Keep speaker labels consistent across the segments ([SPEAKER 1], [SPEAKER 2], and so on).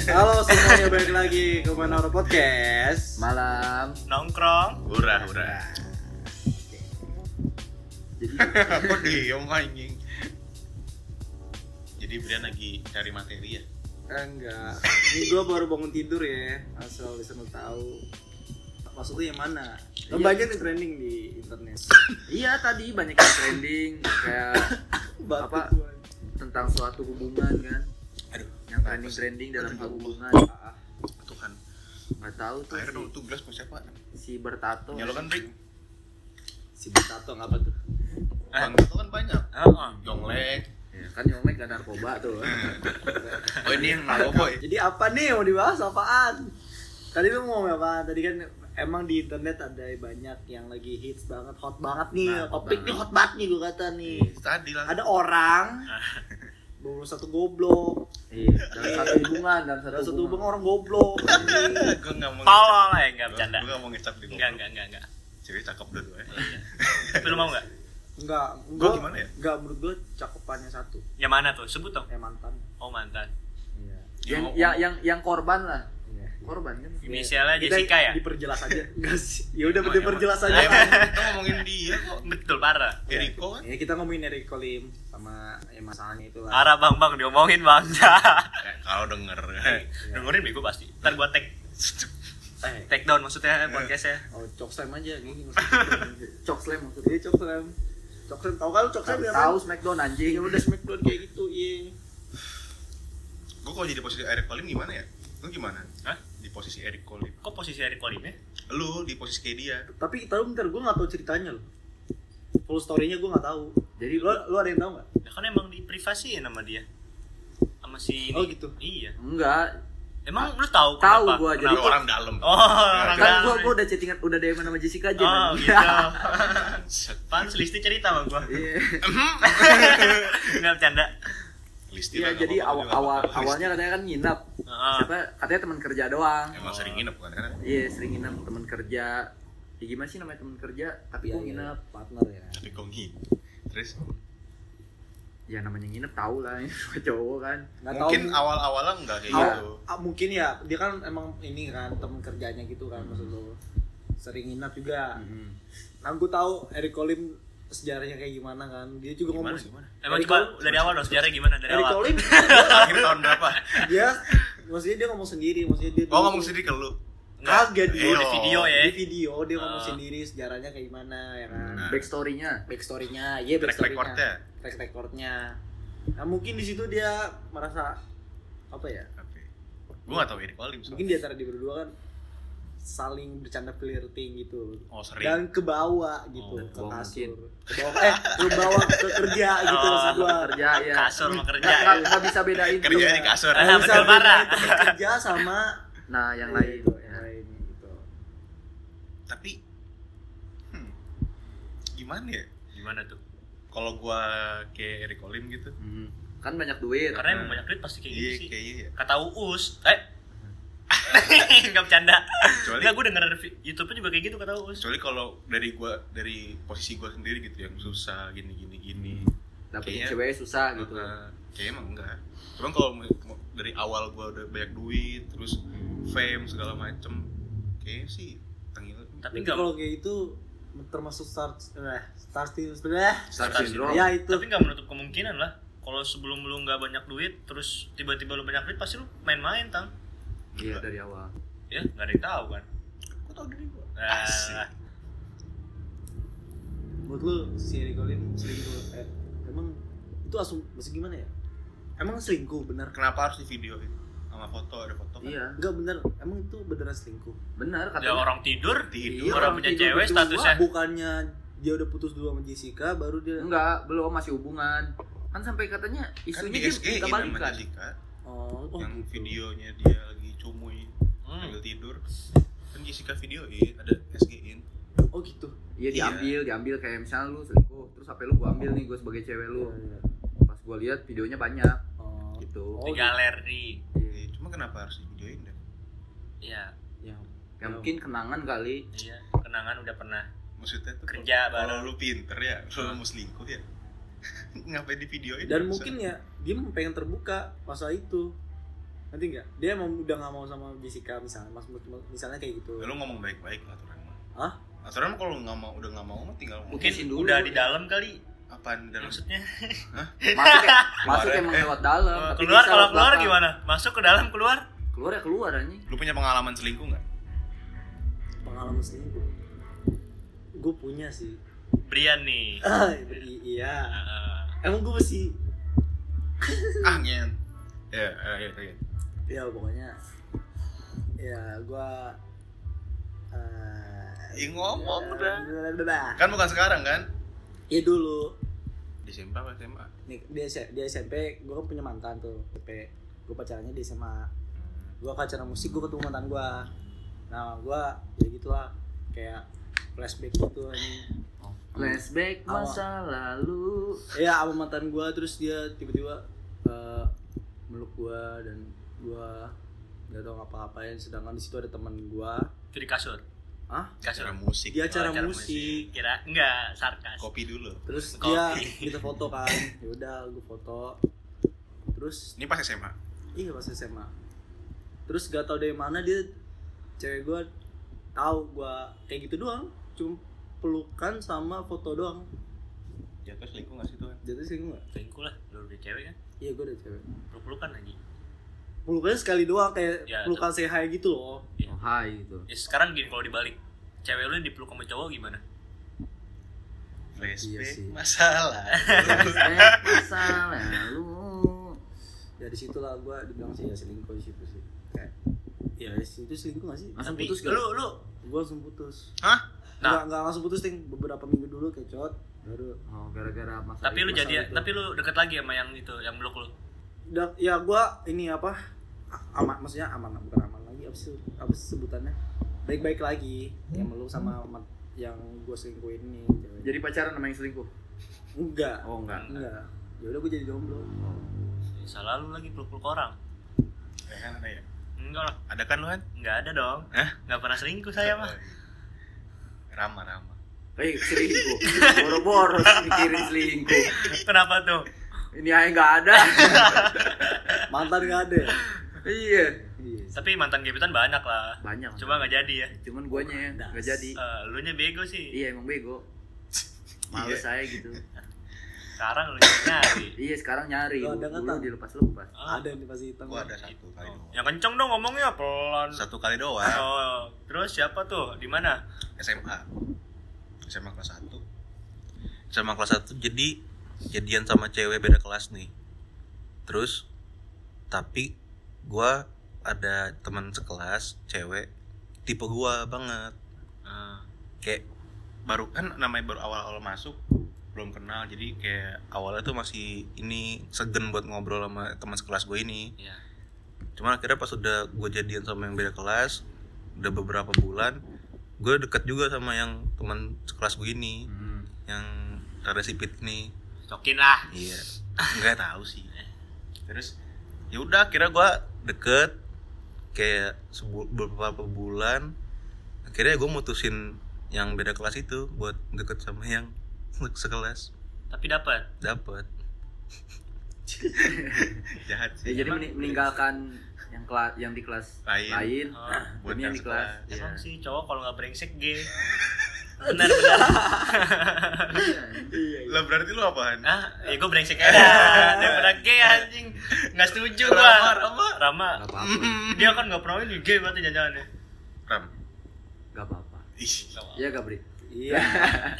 [SPEAKER 1] semuanya balik lagi ke Manor Podcast.
[SPEAKER 2] malam
[SPEAKER 3] nongkrong
[SPEAKER 4] Hurah, hurah. Kok diem anjing? Jadi Brian lagi cari materi ya?
[SPEAKER 1] Eh, enggak. Ini gue baru bangun tidur ya. Asal listener tahu. Maksudnya yang mana? Lo
[SPEAKER 2] Iya.
[SPEAKER 1] banyak nih trending di internet.
[SPEAKER 2] iya tadi banyak yang trending kayak
[SPEAKER 1] Batuk
[SPEAKER 2] Apa?
[SPEAKER 1] gua.
[SPEAKER 2] tentang suatu hubungan kan
[SPEAKER 4] Aduh,
[SPEAKER 2] yang trending trending dalam
[SPEAKER 4] Tentang
[SPEAKER 2] hubungan
[SPEAKER 1] Ah,
[SPEAKER 4] Tuhan.
[SPEAKER 2] nggak tahu tuh
[SPEAKER 4] Akhir dong
[SPEAKER 2] si,
[SPEAKER 4] kan, tuh gelas mau siapa?
[SPEAKER 2] si bertato
[SPEAKER 4] Ya lo kan Rick.
[SPEAKER 1] Si Tato apa tuh?
[SPEAKER 4] Bang itu kan banyak.
[SPEAKER 3] Heeh.
[SPEAKER 4] Jonglek.
[SPEAKER 2] ya, kan nyomek gak narkoba tuh
[SPEAKER 4] Oh ini yang nama boy.
[SPEAKER 1] Jadi apa nih yang mau dibahas apaan? Tadi lu mau ngomong apaan? Tadi kan emang di internet ada banyak yang lagi hits banget, hot banget nih.
[SPEAKER 4] Nah, hot
[SPEAKER 1] Topik nih
[SPEAKER 4] banget. Iya.
[SPEAKER 1] hot banget nih gue kata nih.
[SPEAKER 4] Tadi lah.
[SPEAKER 1] Ada orang baru satu goblok,
[SPEAKER 2] iya dalam satu hubungan dalam
[SPEAKER 1] ada
[SPEAKER 2] satu,
[SPEAKER 1] satu hubungan
[SPEAKER 2] hubungan,
[SPEAKER 1] orang goblok.
[SPEAKER 4] Gue nggak mau.
[SPEAKER 3] tolong ya nggak
[SPEAKER 4] ngecap.
[SPEAKER 3] bercanda
[SPEAKER 4] Gue nggak mau ngecap di
[SPEAKER 3] nggak nggak nggak nggak
[SPEAKER 4] Cewek cakep eh. dua-duanya.
[SPEAKER 3] lu mau nggak
[SPEAKER 1] Enggak,
[SPEAKER 4] Gua gimana ya?
[SPEAKER 1] Enggak menurut gue cakupannya satu,
[SPEAKER 3] yang mana tuh sebut dong
[SPEAKER 1] ya mantan.
[SPEAKER 3] oh mantan
[SPEAKER 2] Iya.
[SPEAKER 4] Ya,
[SPEAKER 2] yang
[SPEAKER 4] om-
[SPEAKER 2] yang yang yang korban lah
[SPEAKER 1] Iya.
[SPEAKER 2] korban kan
[SPEAKER 3] inisialnya
[SPEAKER 1] Kita
[SPEAKER 3] Jessica ya Oh, iya,
[SPEAKER 1] Diperjelas aja. Enggak sih. Ya udah
[SPEAKER 4] Emang-
[SPEAKER 1] diperjelas
[SPEAKER 4] emang-
[SPEAKER 1] aja.
[SPEAKER 4] emang Kita ngomongin dia kok.
[SPEAKER 3] betul parah
[SPEAKER 4] Eriko kan?
[SPEAKER 1] Ya kita ngomongin Eriko Lim sama ya masalahnya itulah.
[SPEAKER 3] parah bang bang diomongin bang
[SPEAKER 4] Eh, Kalau denger.
[SPEAKER 3] dengerin bego pasti ntar gua tag
[SPEAKER 1] Eh,
[SPEAKER 3] take down maksudnya ya. podcastnya
[SPEAKER 1] oh cok slam aja gue
[SPEAKER 2] cok slam maksudnya
[SPEAKER 1] Iya cok slam. Cok slam tahu kan lu cok slam ya?
[SPEAKER 2] tahu smackdown anjing
[SPEAKER 1] Ya udah smackdown kayak gitu, iya.
[SPEAKER 4] Gue kalau jadi posisi Eric Colim gimana ya? Lu gimana?
[SPEAKER 3] Hah?
[SPEAKER 4] Di posisi Eric Colim.
[SPEAKER 3] kok posisi Eric Kolimnya
[SPEAKER 4] Lu di posisi kayak dia.
[SPEAKER 1] Tapi tahu bentar gue nggak tahu ceritanya loh. Full story-nya gue nggak tahu.
[SPEAKER 2] jadi
[SPEAKER 1] Lo lo ada yang tahu nggak?
[SPEAKER 3] ya kan emang diprivasiin sama dia sama si ini.
[SPEAKER 1] Oh, gitu.
[SPEAKER 3] iya
[SPEAKER 2] enggak
[SPEAKER 3] emang lu tahu
[SPEAKER 2] Tahu
[SPEAKER 3] kenapa
[SPEAKER 2] gua, jadi
[SPEAKER 4] Lu
[SPEAKER 3] Kenapa?
[SPEAKER 4] orang dalam.
[SPEAKER 3] oh
[SPEAKER 1] Iya,
[SPEAKER 3] orang
[SPEAKER 2] kan
[SPEAKER 3] dalam.
[SPEAKER 2] gua gua udah chattingan udah DM sama Jessica aja Iya.
[SPEAKER 3] oh
[SPEAKER 2] nanti.
[SPEAKER 3] gitu pan listi cerita sama gua
[SPEAKER 2] Iya.
[SPEAKER 3] nggak bercanda
[SPEAKER 4] Listi
[SPEAKER 2] Iya,
[SPEAKER 4] lah,
[SPEAKER 2] jadi
[SPEAKER 4] nggak apa-apa
[SPEAKER 2] awal,
[SPEAKER 4] juga,
[SPEAKER 2] awal
[SPEAKER 4] nggak apa-apa.
[SPEAKER 2] awalnya katanya kan nginep.
[SPEAKER 3] Ah.
[SPEAKER 2] Siapa katanya teman kerja doang.
[SPEAKER 4] Emang sering nginep kan? Karena
[SPEAKER 2] Iya, sering nginep teman kerja. Ya gimana sih namanya teman kerja tapi
[SPEAKER 1] Iya,
[SPEAKER 2] gua
[SPEAKER 1] iya,
[SPEAKER 2] nginep.
[SPEAKER 1] partner ya.
[SPEAKER 4] tapi kok nginep. Terus
[SPEAKER 2] Ya namanya nginep tahu lah cowok kan.
[SPEAKER 1] Nggak tahu.
[SPEAKER 4] mungkin awal-awalnya nggak kayak
[SPEAKER 3] Iya.
[SPEAKER 1] Awal-
[SPEAKER 4] gitu.
[SPEAKER 1] ah, mungkin ya dia kan emang ini kan temen kerjanya gitu
[SPEAKER 3] Hmm.
[SPEAKER 1] kan maksud lo sering nginap juga. Nah gue tahu Eric Colim sejarahnya kayak gimana kan. Dia juga
[SPEAKER 4] Gimana
[SPEAKER 1] ngomong
[SPEAKER 4] gimana?
[SPEAKER 3] emang
[SPEAKER 1] Eric
[SPEAKER 3] coba
[SPEAKER 1] Colim-
[SPEAKER 3] dari awal dong sejarahnya gimana dari
[SPEAKER 1] Eric
[SPEAKER 3] awal
[SPEAKER 1] Colim
[SPEAKER 4] Akhir tahun berapa?
[SPEAKER 1] dia maksudnya dia ngomong sendiri, maksudnya dia
[SPEAKER 4] Oh
[SPEAKER 1] dulu-
[SPEAKER 4] ngomong sendiri ke lu. Iya, oh,
[SPEAKER 1] Kaget
[SPEAKER 3] Nggak,
[SPEAKER 1] dia.
[SPEAKER 3] di video ya
[SPEAKER 1] Di video dia ngomong
[SPEAKER 3] Ah. Hmm.
[SPEAKER 1] sendiri sejarahnya kayak gimana ya kan.
[SPEAKER 4] Nah.
[SPEAKER 2] Backstory-nya.
[SPEAKER 1] Backstory-nya, iya
[SPEAKER 4] Track
[SPEAKER 1] backstory-nya.
[SPEAKER 4] recordnya.
[SPEAKER 1] Track record-nya. Nah, mungkin di situ dia merasa apa ya?
[SPEAKER 4] Tapi gue nggak tahu Eric Olim.
[SPEAKER 1] Mungkin di antara dia berdua kan saling bercanda flirting gitu.
[SPEAKER 4] Oh sering.
[SPEAKER 1] Dan ke bawah gitu,
[SPEAKER 4] Oh,
[SPEAKER 1] ke
[SPEAKER 2] mungkin.
[SPEAKER 1] kasur. Ke bawah, eh, ke bawah ke kerja gitu
[SPEAKER 3] Oh,
[SPEAKER 1] maksud gua.
[SPEAKER 2] Kerja ya.
[SPEAKER 3] kasur mau
[SPEAKER 2] Nggak, nggak-
[SPEAKER 3] iya, kerja
[SPEAKER 2] nggak bisa bedain. tuh.
[SPEAKER 4] Kerjanya di kasur.
[SPEAKER 3] Ah,
[SPEAKER 1] Bisa
[SPEAKER 3] betul,
[SPEAKER 1] bedain
[SPEAKER 3] parah.
[SPEAKER 1] teman Eh, kerja sama
[SPEAKER 2] Nah, yang
[SPEAKER 1] iya,
[SPEAKER 2] lain.
[SPEAKER 1] gitu, yang
[SPEAKER 2] Ya.
[SPEAKER 1] lain gitu.
[SPEAKER 4] Tapi hmm, gimana ya?
[SPEAKER 3] gimana tuh
[SPEAKER 4] Kalau gua kayak Eric Olim gitu.
[SPEAKER 2] Hmm. Kan banyak duit.
[SPEAKER 3] karena emang banyak duit pasti kayak gitu
[SPEAKER 4] Iya
[SPEAKER 3] sih
[SPEAKER 4] kayaknya ya.
[SPEAKER 3] kata uus eh nggak bercanda
[SPEAKER 4] Kecuali
[SPEAKER 3] nggak gue denger revi- YouTube-nya juga kayak gitu kata uus
[SPEAKER 4] kecuali kalau dari gua dari posisi gua sendiri gitu yang susah gini gini gini.
[SPEAKER 2] Dapetin
[SPEAKER 4] Kayaknya-
[SPEAKER 2] cewek susah gitu.
[SPEAKER 4] Nah, kayaknya emang enggak cuman kalau mu- mu- dari awal gua udah banyak duit terus fame segala macem kayaknya sih tengil
[SPEAKER 3] tapi
[SPEAKER 1] Tapi
[SPEAKER 3] nggak
[SPEAKER 1] kalau kayak itu termasuk star eh, star team sebenarnya
[SPEAKER 2] Star
[SPEAKER 3] Star
[SPEAKER 2] syndrome.
[SPEAKER 1] ya itu
[SPEAKER 3] Oh, tapi nggak menutup kemungkinan lah kalau sebelum lu nggak banyak duit terus tiba-tiba lu banyak duit pasti lu main-main tang
[SPEAKER 2] Iya, dari awal.
[SPEAKER 3] ya nggak ada yang tahu kan
[SPEAKER 4] aku tau dari gua
[SPEAKER 3] Nah,
[SPEAKER 4] Asik.
[SPEAKER 1] menurut lu si Ricolin selingkuh eh, emang itu asum masih gimana ya emang selingkuh benar
[SPEAKER 4] kenapa harus di video itu sama foto ada foto kan
[SPEAKER 2] Iya,
[SPEAKER 1] enggak benar emang itu beneran selingkuh
[SPEAKER 2] benar
[SPEAKER 3] ya
[SPEAKER 2] katanya.
[SPEAKER 3] orang tidur
[SPEAKER 4] Iya,
[SPEAKER 2] Iya.
[SPEAKER 4] tidur
[SPEAKER 3] orang punya cewek,
[SPEAKER 2] berdua.
[SPEAKER 3] statusnya.
[SPEAKER 1] bukannya dia udah putus dulu sama Jessica baru dia
[SPEAKER 2] Enggak, belum masih hubungan. Kan sampai katanya
[SPEAKER 4] kan
[SPEAKER 2] isunya
[SPEAKER 4] di
[SPEAKER 2] dia
[SPEAKER 4] SG
[SPEAKER 2] minta
[SPEAKER 4] sama
[SPEAKER 2] balikan. Iya,
[SPEAKER 4] Jessica
[SPEAKER 1] oh, oh
[SPEAKER 4] yang
[SPEAKER 1] gitu.
[SPEAKER 4] videonya dia lagi cumuy
[SPEAKER 3] Hmm.
[SPEAKER 4] sambil tidur kan Jessica videoin ada SG-in
[SPEAKER 1] oh gitu
[SPEAKER 2] Iya
[SPEAKER 4] Iya.
[SPEAKER 2] diambil, diambil kayak misalnya lu selingkuh, terus HP lu gua ambil nih gua sebagai cewek lu. Pas gua lihat videonya banyak
[SPEAKER 1] oh,
[SPEAKER 2] Iya, gitu.
[SPEAKER 3] di
[SPEAKER 1] Oh,
[SPEAKER 3] galeri
[SPEAKER 2] Iya.
[SPEAKER 4] Eh, cuma kenapa harus di videoin deh
[SPEAKER 3] ya
[SPEAKER 1] ya
[SPEAKER 2] Ya mungkin kenangan kali.
[SPEAKER 3] iya kenangan udah pernah
[SPEAKER 4] maksudnya tuh
[SPEAKER 3] Kerja
[SPEAKER 4] kalau
[SPEAKER 3] bareng.
[SPEAKER 4] lu pinter ya kalau lu mau selingkuh ya ngapain di videoin
[SPEAKER 1] dan mungkin ya dia memang pengen terbuka masa itu nanti nggak dia emang udah nggak mau sama Jessica misalnya mas misalnya kayak gitu
[SPEAKER 4] Ya, lu ngomong baik-baik lah aturan mah
[SPEAKER 1] Hah?
[SPEAKER 4] aturan mah kalau nggak mau udah nggak mau mah tinggal ngomong
[SPEAKER 3] mungkin
[SPEAKER 2] Putusin dulu.
[SPEAKER 3] udah di dalam kali
[SPEAKER 4] apaan dalam
[SPEAKER 3] maksudnya
[SPEAKER 2] Masuk ya, masuk
[SPEAKER 4] Keluar ya,
[SPEAKER 2] emang
[SPEAKER 4] eh.
[SPEAKER 2] lewat dalam.
[SPEAKER 3] Eh,
[SPEAKER 2] tapi
[SPEAKER 3] keluar
[SPEAKER 2] bisa
[SPEAKER 3] kalau
[SPEAKER 2] lewat
[SPEAKER 3] keluar
[SPEAKER 2] belakang.
[SPEAKER 3] gimana Oh. masuk ke dalam keluar
[SPEAKER 2] Keluar ya keluar anjing.
[SPEAKER 4] lu punya pengalaman selingkuh nggak
[SPEAKER 1] pengalaman selingkuh gue punya sih
[SPEAKER 3] Brian nih Eh,
[SPEAKER 1] ah, i- iya
[SPEAKER 3] Heeh.
[SPEAKER 1] emang gue masih
[SPEAKER 4] ah ngen ya ya ya, ya
[SPEAKER 1] ya pokoknya ya gue
[SPEAKER 4] Ih, ngomong udah.
[SPEAKER 1] ya, udah
[SPEAKER 4] kan bukan sekarang kan
[SPEAKER 1] ya dulu
[SPEAKER 4] di SMP apa SMA
[SPEAKER 1] Nih, di, S- di SMP gue kan punya mantan tuh SMP gue pacarannya di SMA gue ke acara musik gue ketemu mantan gue nah gue ya gitulah kayak flashback gitu anjing
[SPEAKER 2] Flashback
[SPEAKER 3] Oh.
[SPEAKER 1] Awal.
[SPEAKER 2] masa lalu.
[SPEAKER 1] ya sama mantan gue terus dia tiba-tiba eh, meluk gue dan gue gak tau ngapa-ngapain sedangkan di situ ada teman gue
[SPEAKER 3] itu di kasur
[SPEAKER 1] Hah?
[SPEAKER 4] acara
[SPEAKER 3] kasur
[SPEAKER 4] musik
[SPEAKER 1] dia acara,
[SPEAKER 3] acara
[SPEAKER 1] musik
[SPEAKER 3] kira enggak sarkas
[SPEAKER 4] kopi dulu
[SPEAKER 1] terus
[SPEAKER 3] Kopi.
[SPEAKER 1] dia kita foto kan yaudah gue foto terus
[SPEAKER 4] ini pas SMA
[SPEAKER 1] iya pas SMA terus gak tau dari mana dia cewek gue tahu gue kayak gitu doang cuma pelukan sama foto doang
[SPEAKER 4] jatuh selingkuh nggak sih tuh
[SPEAKER 1] jadi sih gue
[SPEAKER 3] selingkuh lah lu udah cewek kan
[SPEAKER 1] iya gue udah cewek
[SPEAKER 3] peluk pelukan lagi
[SPEAKER 1] pelukannya sekali doang kayak
[SPEAKER 3] Ya,
[SPEAKER 1] pelukan say hi gitu loh
[SPEAKER 2] Oh, hai gitu.
[SPEAKER 3] ya sekarang gini kalau dibalik cewek lu yang dipeluk sama cowok gimana
[SPEAKER 4] flashback
[SPEAKER 1] sih.
[SPEAKER 4] masalah
[SPEAKER 2] Flashback masa lalu.
[SPEAKER 1] dari situlah gue dibilang sih ya selingkuh di situ sih kayak ya itu selingkuh gak sih
[SPEAKER 2] Langsung
[SPEAKER 3] Tapi
[SPEAKER 2] putus gak?
[SPEAKER 3] lu lu
[SPEAKER 1] gue langsung putus
[SPEAKER 4] hah
[SPEAKER 1] nah.
[SPEAKER 3] Nah.
[SPEAKER 1] nggak nggak langsung putus ting beberapa minggu dulu kecot baru
[SPEAKER 2] Oh, gara-gara masa
[SPEAKER 3] tapi lu
[SPEAKER 2] masa
[SPEAKER 3] jadi
[SPEAKER 2] itu.
[SPEAKER 3] tapi lu deket lagi sama yang itu yang meluk lu
[SPEAKER 1] Dan- ya gue ini apa a- aman maksudnya aman bukan aman lagi apa sih apa sih sebutannya baik-baik lagi yang meluk sama mat- yang gue selingkuhin nih cewek.
[SPEAKER 2] jadi pacaran sama yang selingkuh.
[SPEAKER 1] enggak
[SPEAKER 2] Oh, enggak.
[SPEAKER 1] enggak ya udah gue jadi jomblo
[SPEAKER 3] Ya, salah lu lagi peluk peluk orang
[SPEAKER 4] ya kan ada ya
[SPEAKER 3] enggak lah
[SPEAKER 4] ada kan lu kan
[SPEAKER 3] enggak ada dong
[SPEAKER 4] Hah?
[SPEAKER 3] enggak pernah selingkuh saya mah
[SPEAKER 4] Rama Rama
[SPEAKER 2] Eh, selingkuh. Boros-boros mikirin selingkuh.
[SPEAKER 3] kenapa tuh
[SPEAKER 2] Ini aja enggak ada.
[SPEAKER 1] mantan gak ada ya?
[SPEAKER 2] iya.
[SPEAKER 1] iya
[SPEAKER 3] tapi mantan gebetan banyak lah
[SPEAKER 2] Banyak.
[SPEAKER 3] cuma nggak jadi ya
[SPEAKER 2] Cuman guanya ya enggak jadi.
[SPEAKER 3] Lunya lu nya bego sih
[SPEAKER 2] Iya, emang bego. Males
[SPEAKER 4] Iya.
[SPEAKER 3] Iya.
[SPEAKER 2] saya gitu.
[SPEAKER 3] sekarang lu nyari nyari
[SPEAKER 2] Iya, sekarang nyari.
[SPEAKER 1] Lu ada nggak,
[SPEAKER 2] Dulu
[SPEAKER 1] Tan?
[SPEAKER 2] dilepas-lepas.
[SPEAKER 1] ada yang pasti hitam
[SPEAKER 4] gua ada satu kali doang
[SPEAKER 3] yang kenceng dong ngomongnya pelan
[SPEAKER 4] satu kali doang
[SPEAKER 3] oh terus siapa tuh di mana
[SPEAKER 4] SMA SMA kelas 1 SMA kelas 1 jadi jadian sama cewek beda kelas nih terus tapi gua ada teman sekelas cewek tipe gua banget
[SPEAKER 3] Ah,
[SPEAKER 4] kayak baru kan namanya baru awal-awal masuk belum kenal jadi kayak awalnya tuh masih ini segen buat ngobrol sama teman sekelas gue ini
[SPEAKER 3] Iya.
[SPEAKER 4] cuman akhirnya pas udah gue jadian sama yang beda kelas udah beberapa bulan gue deket juga sama yang teman sekelas gue ini yang rada sipit nih
[SPEAKER 3] cokin lah
[SPEAKER 4] iya nggak tahu sih terus ya udah akhirnya gue deket kayak sebu- beberapa bulan akhirnya gue mutusin yang beda kelas itu buat deket sama yang se- sekelas
[SPEAKER 3] tapi dapat
[SPEAKER 4] dapat jahat
[SPEAKER 2] Ya, jadi meni- meninggalkan yang kelas yang di kelas
[SPEAKER 4] Lain.
[SPEAKER 2] lain
[SPEAKER 3] Oh,
[SPEAKER 4] buat
[SPEAKER 2] Ini
[SPEAKER 4] yang
[SPEAKER 2] yang di kelas.
[SPEAKER 4] sekelas
[SPEAKER 3] emang
[SPEAKER 4] Iya.
[SPEAKER 3] sih cowok kalau nggak brengsek gay benar benar
[SPEAKER 4] Oh,
[SPEAKER 1] iya iya.
[SPEAKER 4] lah berarti lu apaan
[SPEAKER 3] ah ya gue brengsek aja daripada gay anjing nggak setuju gua
[SPEAKER 4] Rama,
[SPEAKER 3] Rama
[SPEAKER 2] Gak apa-apa.
[SPEAKER 3] dia kan nggak pernah ini gay berarti jangan-jangan ya
[SPEAKER 4] ram
[SPEAKER 2] Gak apa-apa.
[SPEAKER 4] ih
[SPEAKER 2] Iya, Gabri.
[SPEAKER 1] iya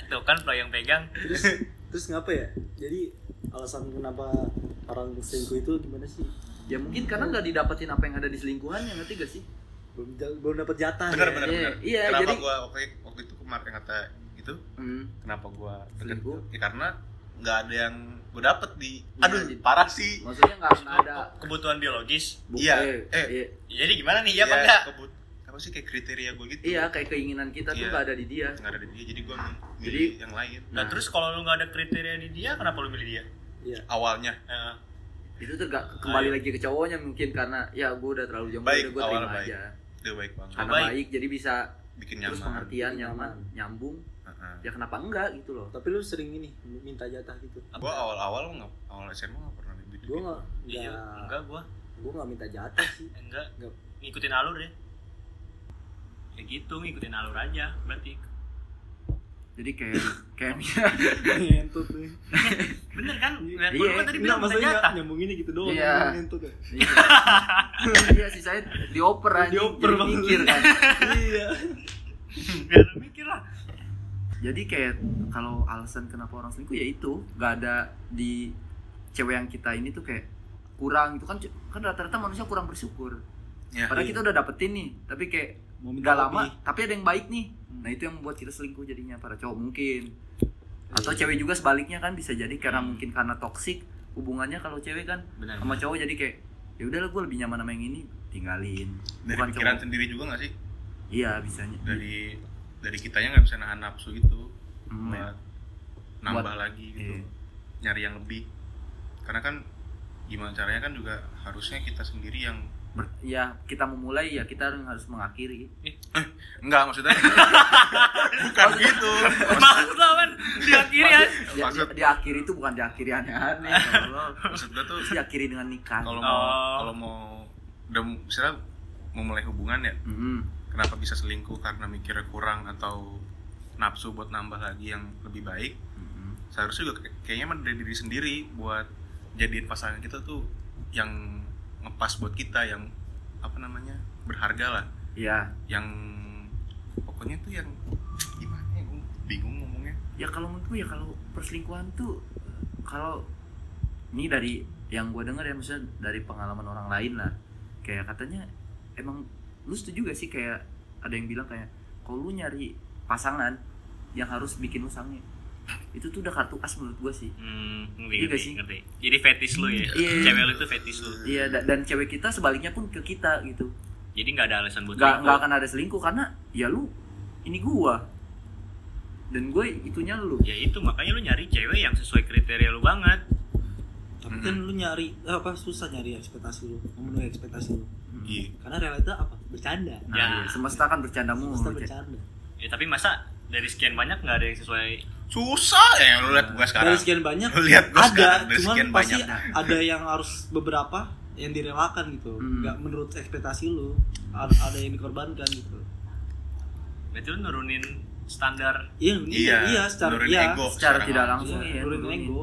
[SPEAKER 3] itu kan kalau yang pegang
[SPEAKER 1] terus terus ngapa ya jadi alasan kenapa orang selingkuh itu gimana sih
[SPEAKER 2] Ya mungkin karena nggak didapetin apa yang ada di selingkuhannya, ngerti gak sih?
[SPEAKER 1] belum ja- belum dapat jatah
[SPEAKER 4] benar
[SPEAKER 1] ya?
[SPEAKER 4] benar
[SPEAKER 2] Iya,
[SPEAKER 4] benar
[SPEAKER 2] iya,
[SPEAKER 4] kenapa
[SPEAKER 2] jadi-
[SPEAKER 4] gua waktu waktu itu kemarin yang kata gitu
[SPEAKER 2] Hmm.
[SPEAKER 4] kenapa gua deket
[SPEAKER 2] Selingkuh.
[SPEAKER 4] itu? ya karena nggak ada yang gua dapet di
[SPEAKER 2] Iya,
[SPEAKER 4] aduh
[SPEAKER 2] jadi-
[SPEAKER 4] parah sih
[SPEAKER 2] Maksudnya nggak akan ada
[SPEAKER 3] kebutuhan biologis
[SPEAKER 2] bukti.
[SPEAKER 4] Iya, eh.
[SPEAKER 2] iya,
[SPEAKER 3] Ya, jadi gimana nih ya apa enggak
[SPEAKER 4] kebut apa sih kayak kriteria gua gitu
[SPEAKER 2] Iya, kayak keinginan kita tuh
[SPEAKER 4] Iya.
[SPEAKER 2] nggak ada di dia.
[SPEAKER 4] nggak ada di dia jadi gua milih
[SPEAKER 2] Jadi-
[SPEAKER 4] yang lain
[SPEAKER 3] nah, terus kalau lu nggak ada kriteria di dia kenapa lu milih dia
[SPEAKER 1] iya
[SPEAKER 4] awalnya
[SPEAKER 3] Eh,
[SPEAKER 2] itu tuh nggak- kembali lagi ke cowoknya mungkin karena ya gue udah terlalu jomblo,
[SPEAKER 4] Iya. Baik,
[SPEAKER 2] udah gue
[SPEAKER 4] awal
[SPEAKER 2] terima
[SPEAKER 4] baik.
[SPEAKER 2] aja.
[SPEAKER 4] dia baik banget
[SPEAKER 2] Karena
[SPEAKER 3] Baik.
[SPEAKER 2] baik. jadi bisa
[SPEAKER 4] bikin
[SPEAKER 2] terus
[SPEAKER 4] nyaman
[SPEAKER 2] pengertian,
[SPEAKER 1] Nyaman.
[SPEAKER 2] nyaman, nyambung.
[SPEAKER 4] Heeh.
[SPEAKER 2] Ya kenapa enggak gitu loh?
[SPEAKER 1] tapi lu sering ini minta jatah gitu
[SPEAKER 4] gua awal-awal nggak awal SMA nggak pernah gitu
[SPEAKER 1] gue nggak
[SPEAKER 3] iya
[SPEAKER 1] nggak
[SPEAKER 3] enggak gua
[SPEAKER 1] gue nggak minta jatah sih
[SPEAKER 3] enggak
[SPEAKER 1] Enggak.
[SPEAKER 3] ngikutin alur deh ya gitu ngikutin alur aja berarti
[SPEAKER 2] jadi kayak kayaknya
[SPEAKER 1] ngentut nih
[SPEAKER 3] bener kan lihat
[SPEAKER 2] Iya.
[SPEAKER 3] gua kan tadi
[SPEAKER 1] Nggak,
[SPEAKER 3] bilang minta
[SPEAKER 1] maksudnya
[SPEAKER 3] jatah
[SPEAKER 1] nyambunginnya gitu doang
[SPEAKER 2] Iya.
[SPEAKER 1] ngentut ya
[SPEAKER 2] iya Iya, sih saya dioper aja
[SPEAKER 1] Dioper banget.
[SPEAKER 2] mikir kan
[SPEAKER 1] iya
[SPEAKER 3] biar lu mikir lah
[SPEAKER 2] jadi kayak kalau alasan kenapa orang selingkuh ya itu nggak ada di cewek yang kita ini tuh kayak kurang itu kan kan rata-rata manusia kurang bersyukur
[SPEAKER 4] Ya.
[SPEAKER 2] padahal
[SPEAKER 1] Iya.
[SPEAKER 2] kita udah dapetin nih tapi kayak
[SPEAKER 1] mau
[SPEAKER 2] nggak lama
[SPEAKER 1] lebih.
[SPEAKER 2] tapi ada yang baik nih
[SPEAKER 1] Hmm.
[SPEAKER 2] nah itu yang membuat kita selingkuh jadinya para cowok mungkin
[SPEAKER 1] Iya.
[SPEAKER 2] atau cewek juga sebaliknya kan bisa jadi karena
[SPEAKER 1] Hmm.
[SPEAKER 2] mungkin karena toksik hubungannya kalau cewek kan
[SPEAKER 3] bener
[SPEAKER 2] sama cowok jadi kayak ya udahlah gue lebih nyaman sama yang ini tinggalin
[SPEAKER 4] dari
[SPEAKER 2] bukan
[SPEAKER 4] pikiran
[SPEAKER 2] cowok
[SPEAKER 4] sendiri juga nggak sih
[SPEAKER 2] iya bisanya
[SPEAKER 4] dari dari kitanya nggak bisa nahan nafsu gitu
[SPEAKER 2] Hmm,
[SPEAKER 4] buat nambah lagi gitu
[SPEAKER 2] iya.
[SPEAKER 4] nyari yang lebih karena kan gimana caranya kan juga harusnya kita sendiri yang
[SPEAKER 2] ber- ya kita memulai ya kita harus mengakhiri
[SPEAKER 4] enggak maksudnya bukan gitu
[SPEAKER 3] maksud lo kan diakhiri ya
[SPEAKER 2] di,
[SPEAKER 4] Maksud-
[SPEAKER 2] di, akhir itu bukan di akhir aneh-aneh kalau
[SPEAKER 4] maksud gua tuh
[SPEAKER 2] terus diakhiri dengan nikah
[SPEAKER 4] kalau mau
[SPEAKER 3] Oh.
[SPEAKER 4] kalau mau udah misalnya mau mulai hubungan ya
[SPEAKER 2] Mm,
[SPEAKER 4] kenapa bisa selingkuh karena mikirnya kurang atau nafsu buat nambah lagi yang lebih baik
[SPEAKER 2] mm.
[SPEAKER 4] seharusnya juga kayak- kayaknya emang dari diri sendiri buat jadiin pasangan kita tuh yang ngepas buat kita yang apa namanya berharga lah
[SPEAKER 2] ya
[SPEAKER 4] yang pokoknya tuh yang gimana ya gue bingung ngomongnya
[SPEAKER 2] ya kalau menurut gue ya kalau perselingkuhan tuh eh, kalau ini dari yang gue dengar ya maksudnya dari pengalaman orang lain lah kayak katanya emang lu setuju gak sih kayak ada yang bilang kayak kalau lu nyari pasangan yang harus bikin lu sange itu tuh udah kartu as menurut gue sih
[SPEAKER 3] hmm, ngerti,
[SPEAKER 2] Iya
[SPEAKER 3] ngerti,
[SPEAKER 2] sih.
[SPEAKER 3] ngerti. jadi fetish lu ya
[SPEAKER 2] Iya.
[SPEAKER 3] cewek lu itu fetish lu
[SPEAKER 2] iya da- dan cewek kita sebaliknya pun ke kita gitu
[SPEAKER 3] jadi nggak ada alasan buat
[SPEAKER 2] nggak nggak
[SPEAKER 3] selingkuh.
[SPEAKER 2] akan ada selingkuh karena ya lu ini gua dan gue itunya lu
[SPEAKER 3] ya itu makanya lu nyari cewek yang sesuai kriteria lu banget
[SPEAKER 1] tapi kan lu nyari apa susah nyari ekspektasi lu memenuhi ekspektasi lu
[SPEAKER 4] iya
[SPEAKER 1] karena realita apa bercanda
[SPEAKER 2] nah,
[SPEAKER 3] Ya.
[SPEAKER 2] iya, semesta kan bercanda mulu
[SPEAKER 1] Semesta
[SPEAKER 2] Cek.
[SPEAKER 1] bercanda
[SPEAKER 3] ya tapi masa dari sekian banyak nggak ada yang sesuai
[SPEAKER 4] susah ya lu lihat gua
[SPEAKER 1] dari
[SPEAKER 4] sekarang
[SPEAKER 1] sekian banyak
[SPEAKER 4] lu lihat gua sekarang
[SPEAKER 1] ada
[SPEAKER 4] dari
[SPEAKER 1] cuman
[SPEAKER 4] sekian
[SPEAKER 1] pasti
[SPEAKER 4] banyak
[SPEAKER 2] Nah,
[SPEAKER 1] ada yang harus beberapa yang direlakan gitu
[SPEAKER 2] Hmm.
[SPEAKER 1] nggak menurut ekspektasi lu ada, ada yang dikorbankan gitu
[SPEAKER 3] berarti lu nurunin standar
[SPEAKER 1] iya iya, iya secara
[SPEAKER 4] nurunin
[SPEAKER 1] iya
[SPEAKER 4] ego
[SPEAKER 2] secara
[SPEAKER 4] sekarang.
[SPEAKER 2] tidak
[SPEAKER 1] Iya,
[SPEAKER 2] langsung ya
[SPEAKER 1] nurunin
[SPEAKER 2] nurunin.
[SPEAKER 1] ego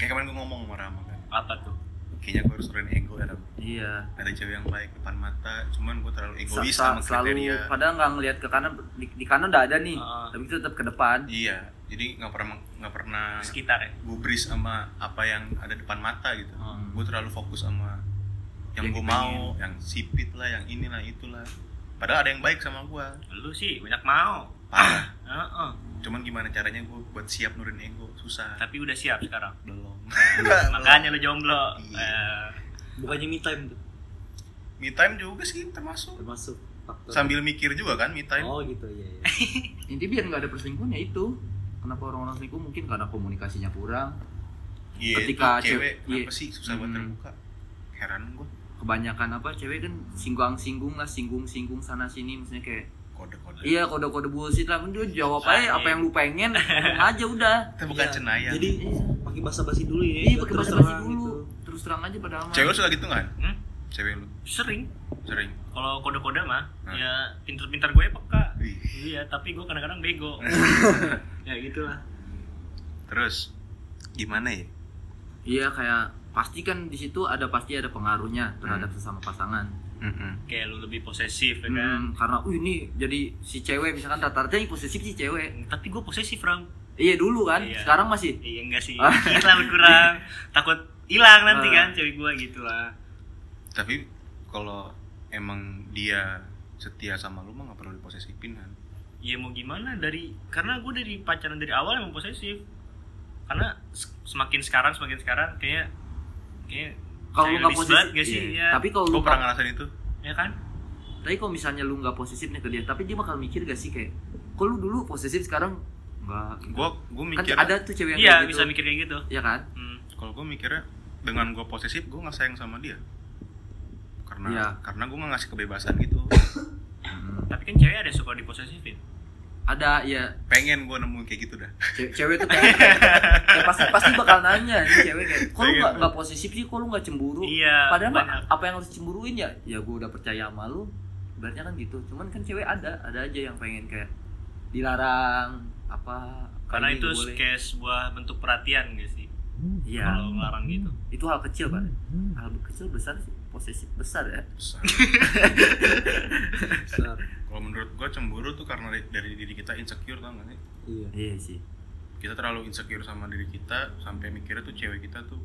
[SPEAKER 4] kayak kemarin gua ngomong sama Rama kan
[SPEAKER 3] apa tuh
[SPEAKER 4] kayaknya gua harus nurunin ego ya Ram.
[SPEAKER 2] iya
[SPEAKER 4] ada cewek yang baik depan mata cuman gua terlalu
[SPEAKER 2] Sa-
[SPEAKER 4] egois
[SPEAKER 2] sa-
[SPEAKER 4] sama
[SPEAKER 2] selalu
[SPEAKER 4] kriteria
[SPEAKER 2] padahal nggak ngelihat ke kanan di, di kanan udah ada nih
[SPEAKER 3] Ah.
[SPEAKER 2] tapi itu tetap ke depan
[SPEAKER 4] iya jadi nggak pernah nggak pernah
[SPEAKER 3] sekitar ya
[SPEAKER 4] gubris sama apa yang ada depan mata gitu
[SPEAKER 2] Hmm.
[SPEAKER 4] gue terlalu fokus sama yang,
[SPEAKER 2] Yang
[SPEAKER 4] gue mau yang sipit lah yang inilah itulah padahal ada yang baik sama gue
[SPEAKER 3] lu sih banyak mau
[SPEAKER 4] parah
[SPEAKER 3] Heeh.
[SPEAKER 4] cuman gimana caranya gue buat siap nurin ego susah
[SPEAKER 3] tapi udah siap sekarang
[SPEAKER 4] belum
[SPEAKER 3] makanya lu jomblo
[SPEAKER 4] Iya.
[SPEAKER 3] Eh,
[SPEAKER 1] bukannya me time tuh
[SPEAKER 4] me time juga sih termasuk
[SPEAKER 1] termasuk faktor
[SPEAKER 4] sambil mikir juga kan me time
[SPEAKER 1] oh gitu ya, ya.
[SPEAKER 2] ini biar nggak ada perselingkuhan ya itu kenapa orang-orang selingkuh mungkin karena komunikasinya kurang
[SPEAKER 4] Iya,
[SPEAKER 2] ketika
[SPEAKER 4] itu cewek
[SPEAKER 2] cewek-
[SPEAKER 4] kenapa
[SPEAKER 2] iya.
[SPEAKER 4] sih susah buat
[SPEAKER 2] Hmm.
[SPEAKER 4] terbuka heran gue
[SPEAKER 2] kebanyakan apa cewek kan singgung-singgung lah singgung-singgung sana sini maksudnya kayak
[SPEAKER 4] kode-kode
[SPEAKER 2] iya kode-kode bullshit lah dia jawab aja
[SPEAKER 3] Ah,
[SPEAKER 2] apa
[SPEAKER 3] iya.
[SPEAKER 2] yang lu pengen ngomong aja udah
[SPEAKER 4] kita bukan
[SPEAKER 1] Iya,
[SPEAKER 4] cenayang
[SPEAKER 1] jadi pakai bahasa basi dulu ya
[SPEAKER 2] Iya
[SPEAKER 1] biar
[SPEAKER 2] pakai
[SPEAKER 1] terus
[SPEAKER 2] bahasa basi
[SPEAKER 1] terang
[SPEAKER 2] dulu.
[SPEAKER 1] gitu.
[SPEAKER 2] Terus terang aja pada aman.
[SPEAKER 4] cewek lu suka gitu kan
[SPEAKER 3] Hmm?
[SPEAKER 4] cewek lu
[SPEAKER 3] sering
[SPEAKER 4] sering
[SPEAKER 3] kalau kode-kode mah
[SPEAKER 4] Hmm.
[SPEAKER 3] ya pinter-pinter gue peka
[SPEAKER 4] Wih.
[SPEAKER 3] iya tapi gue kadang-kadang
[SPEAKER 2] Nah,
[SPEAKER 3] bego ya gitulah
[SPEAKER 4] terus gimana ya
[SPEAKER 2] Iya kayak pasti kan di situ ada pasti ada pengaruhnya terhadap
[SPEAKER 4] Hmm.
[SPEAKER 2] sesama pasangan.
[SPEAKER 4] Mm-mm.
[SPEAKER 3] kayak lu lebih posesif ya
[SPEAKER 2] Hmm,
[SPEAKER 3] kan
[SPEAKER 2] karena uh ini jadi si cewek misalkan rata-rata yang posesif si cewek.
[SPEAKER 3] tapi gue posesif ram
[SPEAKER 2] Iya dulu kan,
[SPEAKER 3] Iya.
[SPEAKER 2] sekarang masih.
[SPEAKER 3] iya enggak sih
[SPEAKER 2] Ah.
[SPEAKER 3] kita berkurang takut hilang nanti
[SPEAKER 2] Ah.
[SPEAKER 3] kan cewek gue gitu lah
[SPEAKER 4] tapi kalau emang dia setia sama lu mah nggak perlu diposesifin kan
[SPEAKER 3] ya mau gimana dari karena gue dari pacaran dari awal emang posesif karena se- semakin sekarang semakin sekarang kayaknya kayak
[SPEAKER 2] Kalau lu nggak posesif,
[SPEAKER 3] gak sih
[SPEAKER 2] iya.
[SPEAKER 3] ya,
[SPEAKER 2] tapi kalau
[SPEAKER 4] gue
[SPEAKER 2] lu
[SPEAKER 4] pernah ngerasain itu
[SPEAKER 3] ya kan
[SPEAKER 2] tapi kalau misalnya lu nggak posesif nih ke dia, tapi dia bakal mikir gak sih kayak, kok lu dulu posesif sekarang nggak? gitu?"
[SPEAKER 4] gue gue
[SPEAKER 2] kan
[SPEAKER 4] mikir
[SPEAKER 2] ada tuh cewek yang
[SPEAKER 3] iya
[SPEAKER 2] kayak gitu.
[SPEAKER 3] bisa mikir kayak gitu
[SPEAKER 2] Iya kan?
[SPEAKER 3] hmm.
[SPEAKER 4] kalau gue mikirnya dengan gue posesif gue nggak sayang sama dia karena
[SPEAKER 2] Iya.
[SPEAKER 4] karena gue nggak ngasih kebebasan gitu
[SPEAKER 2] Hmm.
[SPEAKER 3] tapi kan cewek ada yang suka diposesifin
[SPEAKER 2] ada ya
[SPEAKER 4] pengen gue nemuin kayak gitu dah
[SPEAKER 2] ce- cewek tuh kayak, kayak pasti pasti bakal nanya nih cewek kayak kok lu
[SPEAKER 3] Pengen
[SPEAKER 2] nggak
[SPEAKER 3] tuh.
[SPEAKER 2] nggak posesif sih kok lu nggak
[SPEAKER 4] Uh,
[SPEAKER 2] cemburu
[SPEAKER 3] Iya.
[SPEAKER 2] padahal mah,
[SPEAKER 3] banyak.
[SPEAKER 2] apa yang harus cemburuin ya ya gue udah percaya sama lu ibaratnya kan gitu cuman kan cewek ada ada aja yang pengen kayak dilarang apa
[SPEAKER 3] Karena
[SPEAKER 4] gitu
[SPEAKER 2] kayak
[SPEAKER 3] itu
[SPEAKER 2] gini nggak boleh.
[SPEAKER 3] kayak sebuah bentuk perhatian gak sih?
[SPEAKER 4] Ya.
[SPEAKER 2] iya
[SPEAKER 3] Kalau ngelarang gitu.
[SPEAKER 2] itu hal kecil pak hal kecil besar sih posesif besar ya
[SPEAKER 4] Besar.
[SPEAKER 1] Besar.
[SPEAKER 4] kalau menurut gue cemburu tuh karena dari- dari diri kita insecure tau gak sih
[SPEAKER 1] iya
[SPEAKER 2] iya sih
[SPEAKER 4] kita terlalu insecure sama diri kita sampai mikirnya tuh cewek kita tuh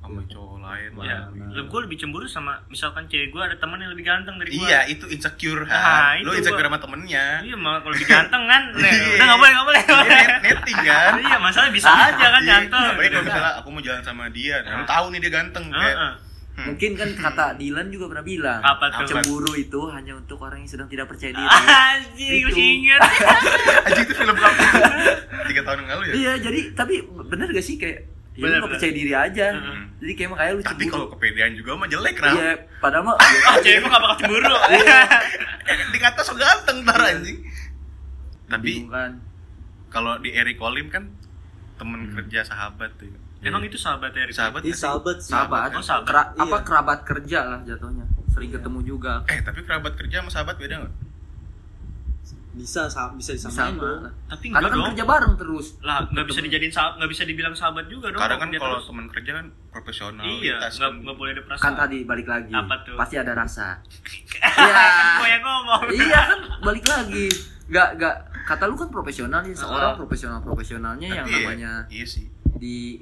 [SPEAKER 2] Iya.
[SPEAKER 4] sama cowok lain lah,
[SPEAKER 3] Ya,
[SPEAKER 4] gitu.
[SPEAKER 3] Lah, gue lebih cemburu sama misalkan cewek gue ada teman yang lebih ganteng dari gue.
[SPEAKER 4] iya itu insecure Han.
[SPEAKER 3] Nah,
[SPEAKER 4] lo
[SPEAKER 3] itu
[SPEAKER 4] insecure
[SPEAKER 3] gua.
[SPEAKER 4] sama temennya
[SPEAKER 3] Iya, mah kalau lebih ganteng kan. Nah,
[SPEAKER 4] Iya.
[SPEAKER 3] udah enggak boleh, enggak boleh.
[SPEAKER 4] Dia net- netting kan
[SPEAKER 3] Iya, masalah bisa aja kan
[SPEAKER 4] Iya,
[SPEAKER 3] ganteng.
[SPEAKER 4] apalagi kalau misalnya aku mau jalan sama dia nah, lu
[SPEAKER 3] Ah.
[SPEAKER 4] tahu nih dia ganteng kayak
[SPEAKER 3] Heeh.
[SPEAKER 4] hmm,
[SPEAKER 2] mungkin kan kata Dylan juga pernah bilang
[SPEAKER 3] Apa
[SPEAKER 4] Apa?
[SPEAKER 3] tuh?
[SPEAKER 2] cemburu itu hanya untuk orang yang sedang tidak percaya diri
[SPEAKER 3] Anjing,
[SPEAKER 2] Itu.
[SPEAKER 3] masih ingat.
[SPEAKER 4] anjing itu film lama tiga tahun yang lalu ya
[SPEAKER 2] iya jadi tapi bener gak sih kayak ya lu
[SPEAKER 3] Bener,
[SPEAKER 2] nggak
[SPEAKER 3] bener.
[SPEAKER 2] percaya diri aja
[SPEAKER 4] Hmm.
[SPEAKER 3] Heeh.
[SPEAKER 2] jadi kayak makanya lu
[SPEAKER 4] tapi
[SPEAKER 2] cemburu
[SPEAKER 4] kalau kepedean juga mah jelek ram
[SPEAKER 2] iya padahal mah
[SPEAKER 3] Ah, cewek gue gak bakal cemburu.
[SPEAKER 4] Iya. dikata so ganteng ntar anjing tapi
[SPEAKER 2] bingung kan
[SPEAKER 4] kalau di Eric Olim kan temen
[SPEAKER 2] Hmm.
[SPEAKER 4] kerja sahabat tuh ya.
[SPEAKER 3] Emang itu sahabat Erick?
[SPEAKER 4] sahabat
[SPEAKER 1] Ih,
[SPEAKER 4] nggak sih?
[SPEAKER 1] sahabat sih
[SPEAKER 2] sahabat,
[SPEAKER 3] Oh, sahabat.
[SPEAKER 2] Kera-
[SPEAKER 1] Iya.
[SPEAKER 2] apa kerabat kerja lah jatuhnya sering
[SPEAKER 1] Iya.
[SPEAKER 2] ketemu juga
[SPEAKER 4] eh tapi kerabat kerja sama sahabat beda nggak
[SPEAKER 1] bisa sa- bisa disamain
[SPEAKER 2] sama
[SPEAKER 1] mah
[SPEAKER 2] lah.
[SPEAKER 3] Tapi
[SPEAKER 2] karena kan
[SPEAKER 3] enggak dong.
[SPEAKER 2] kerja bareng terus
[SPEAKER 3] Lah, nggak bisa dijadiin sahabat, nggak bisa dibilang sahabat juga dong.
[SPEAKER 4] kadang kan
[SPEAKER 3] dia
[SPEAKER 4] kalau
[SPEAKER 3] terus.
[SPEAKER 4] temen kerja kan profesional
[SPEAKER 3] Iya, nggak nggak boleh ada
[SPEAKER 2] kan
[SPEAKER 3] perasaan.
[SPEAKER 2] tadi balik lagi
[SPEAKER 3] Apa tuh?
[SPEAKER 2] pasti ada rasa
[SPEAKER 3] Kan
[SPEAKER 2] iya
[SPEAKER 3] gue yang ngomong.
[SPEAKER 2] iya kan balik lagi nggak nggak kata lu kan profesional ya seorang
[SPEAKER 3] Ah.
[SPEAKER 2] profesional profesionalnya yang
[SPEAKER 4] Tapi ya,
[SPEAKER 2] namanya
[SPEAKER 4] iya sih
[SPEAKER 2] di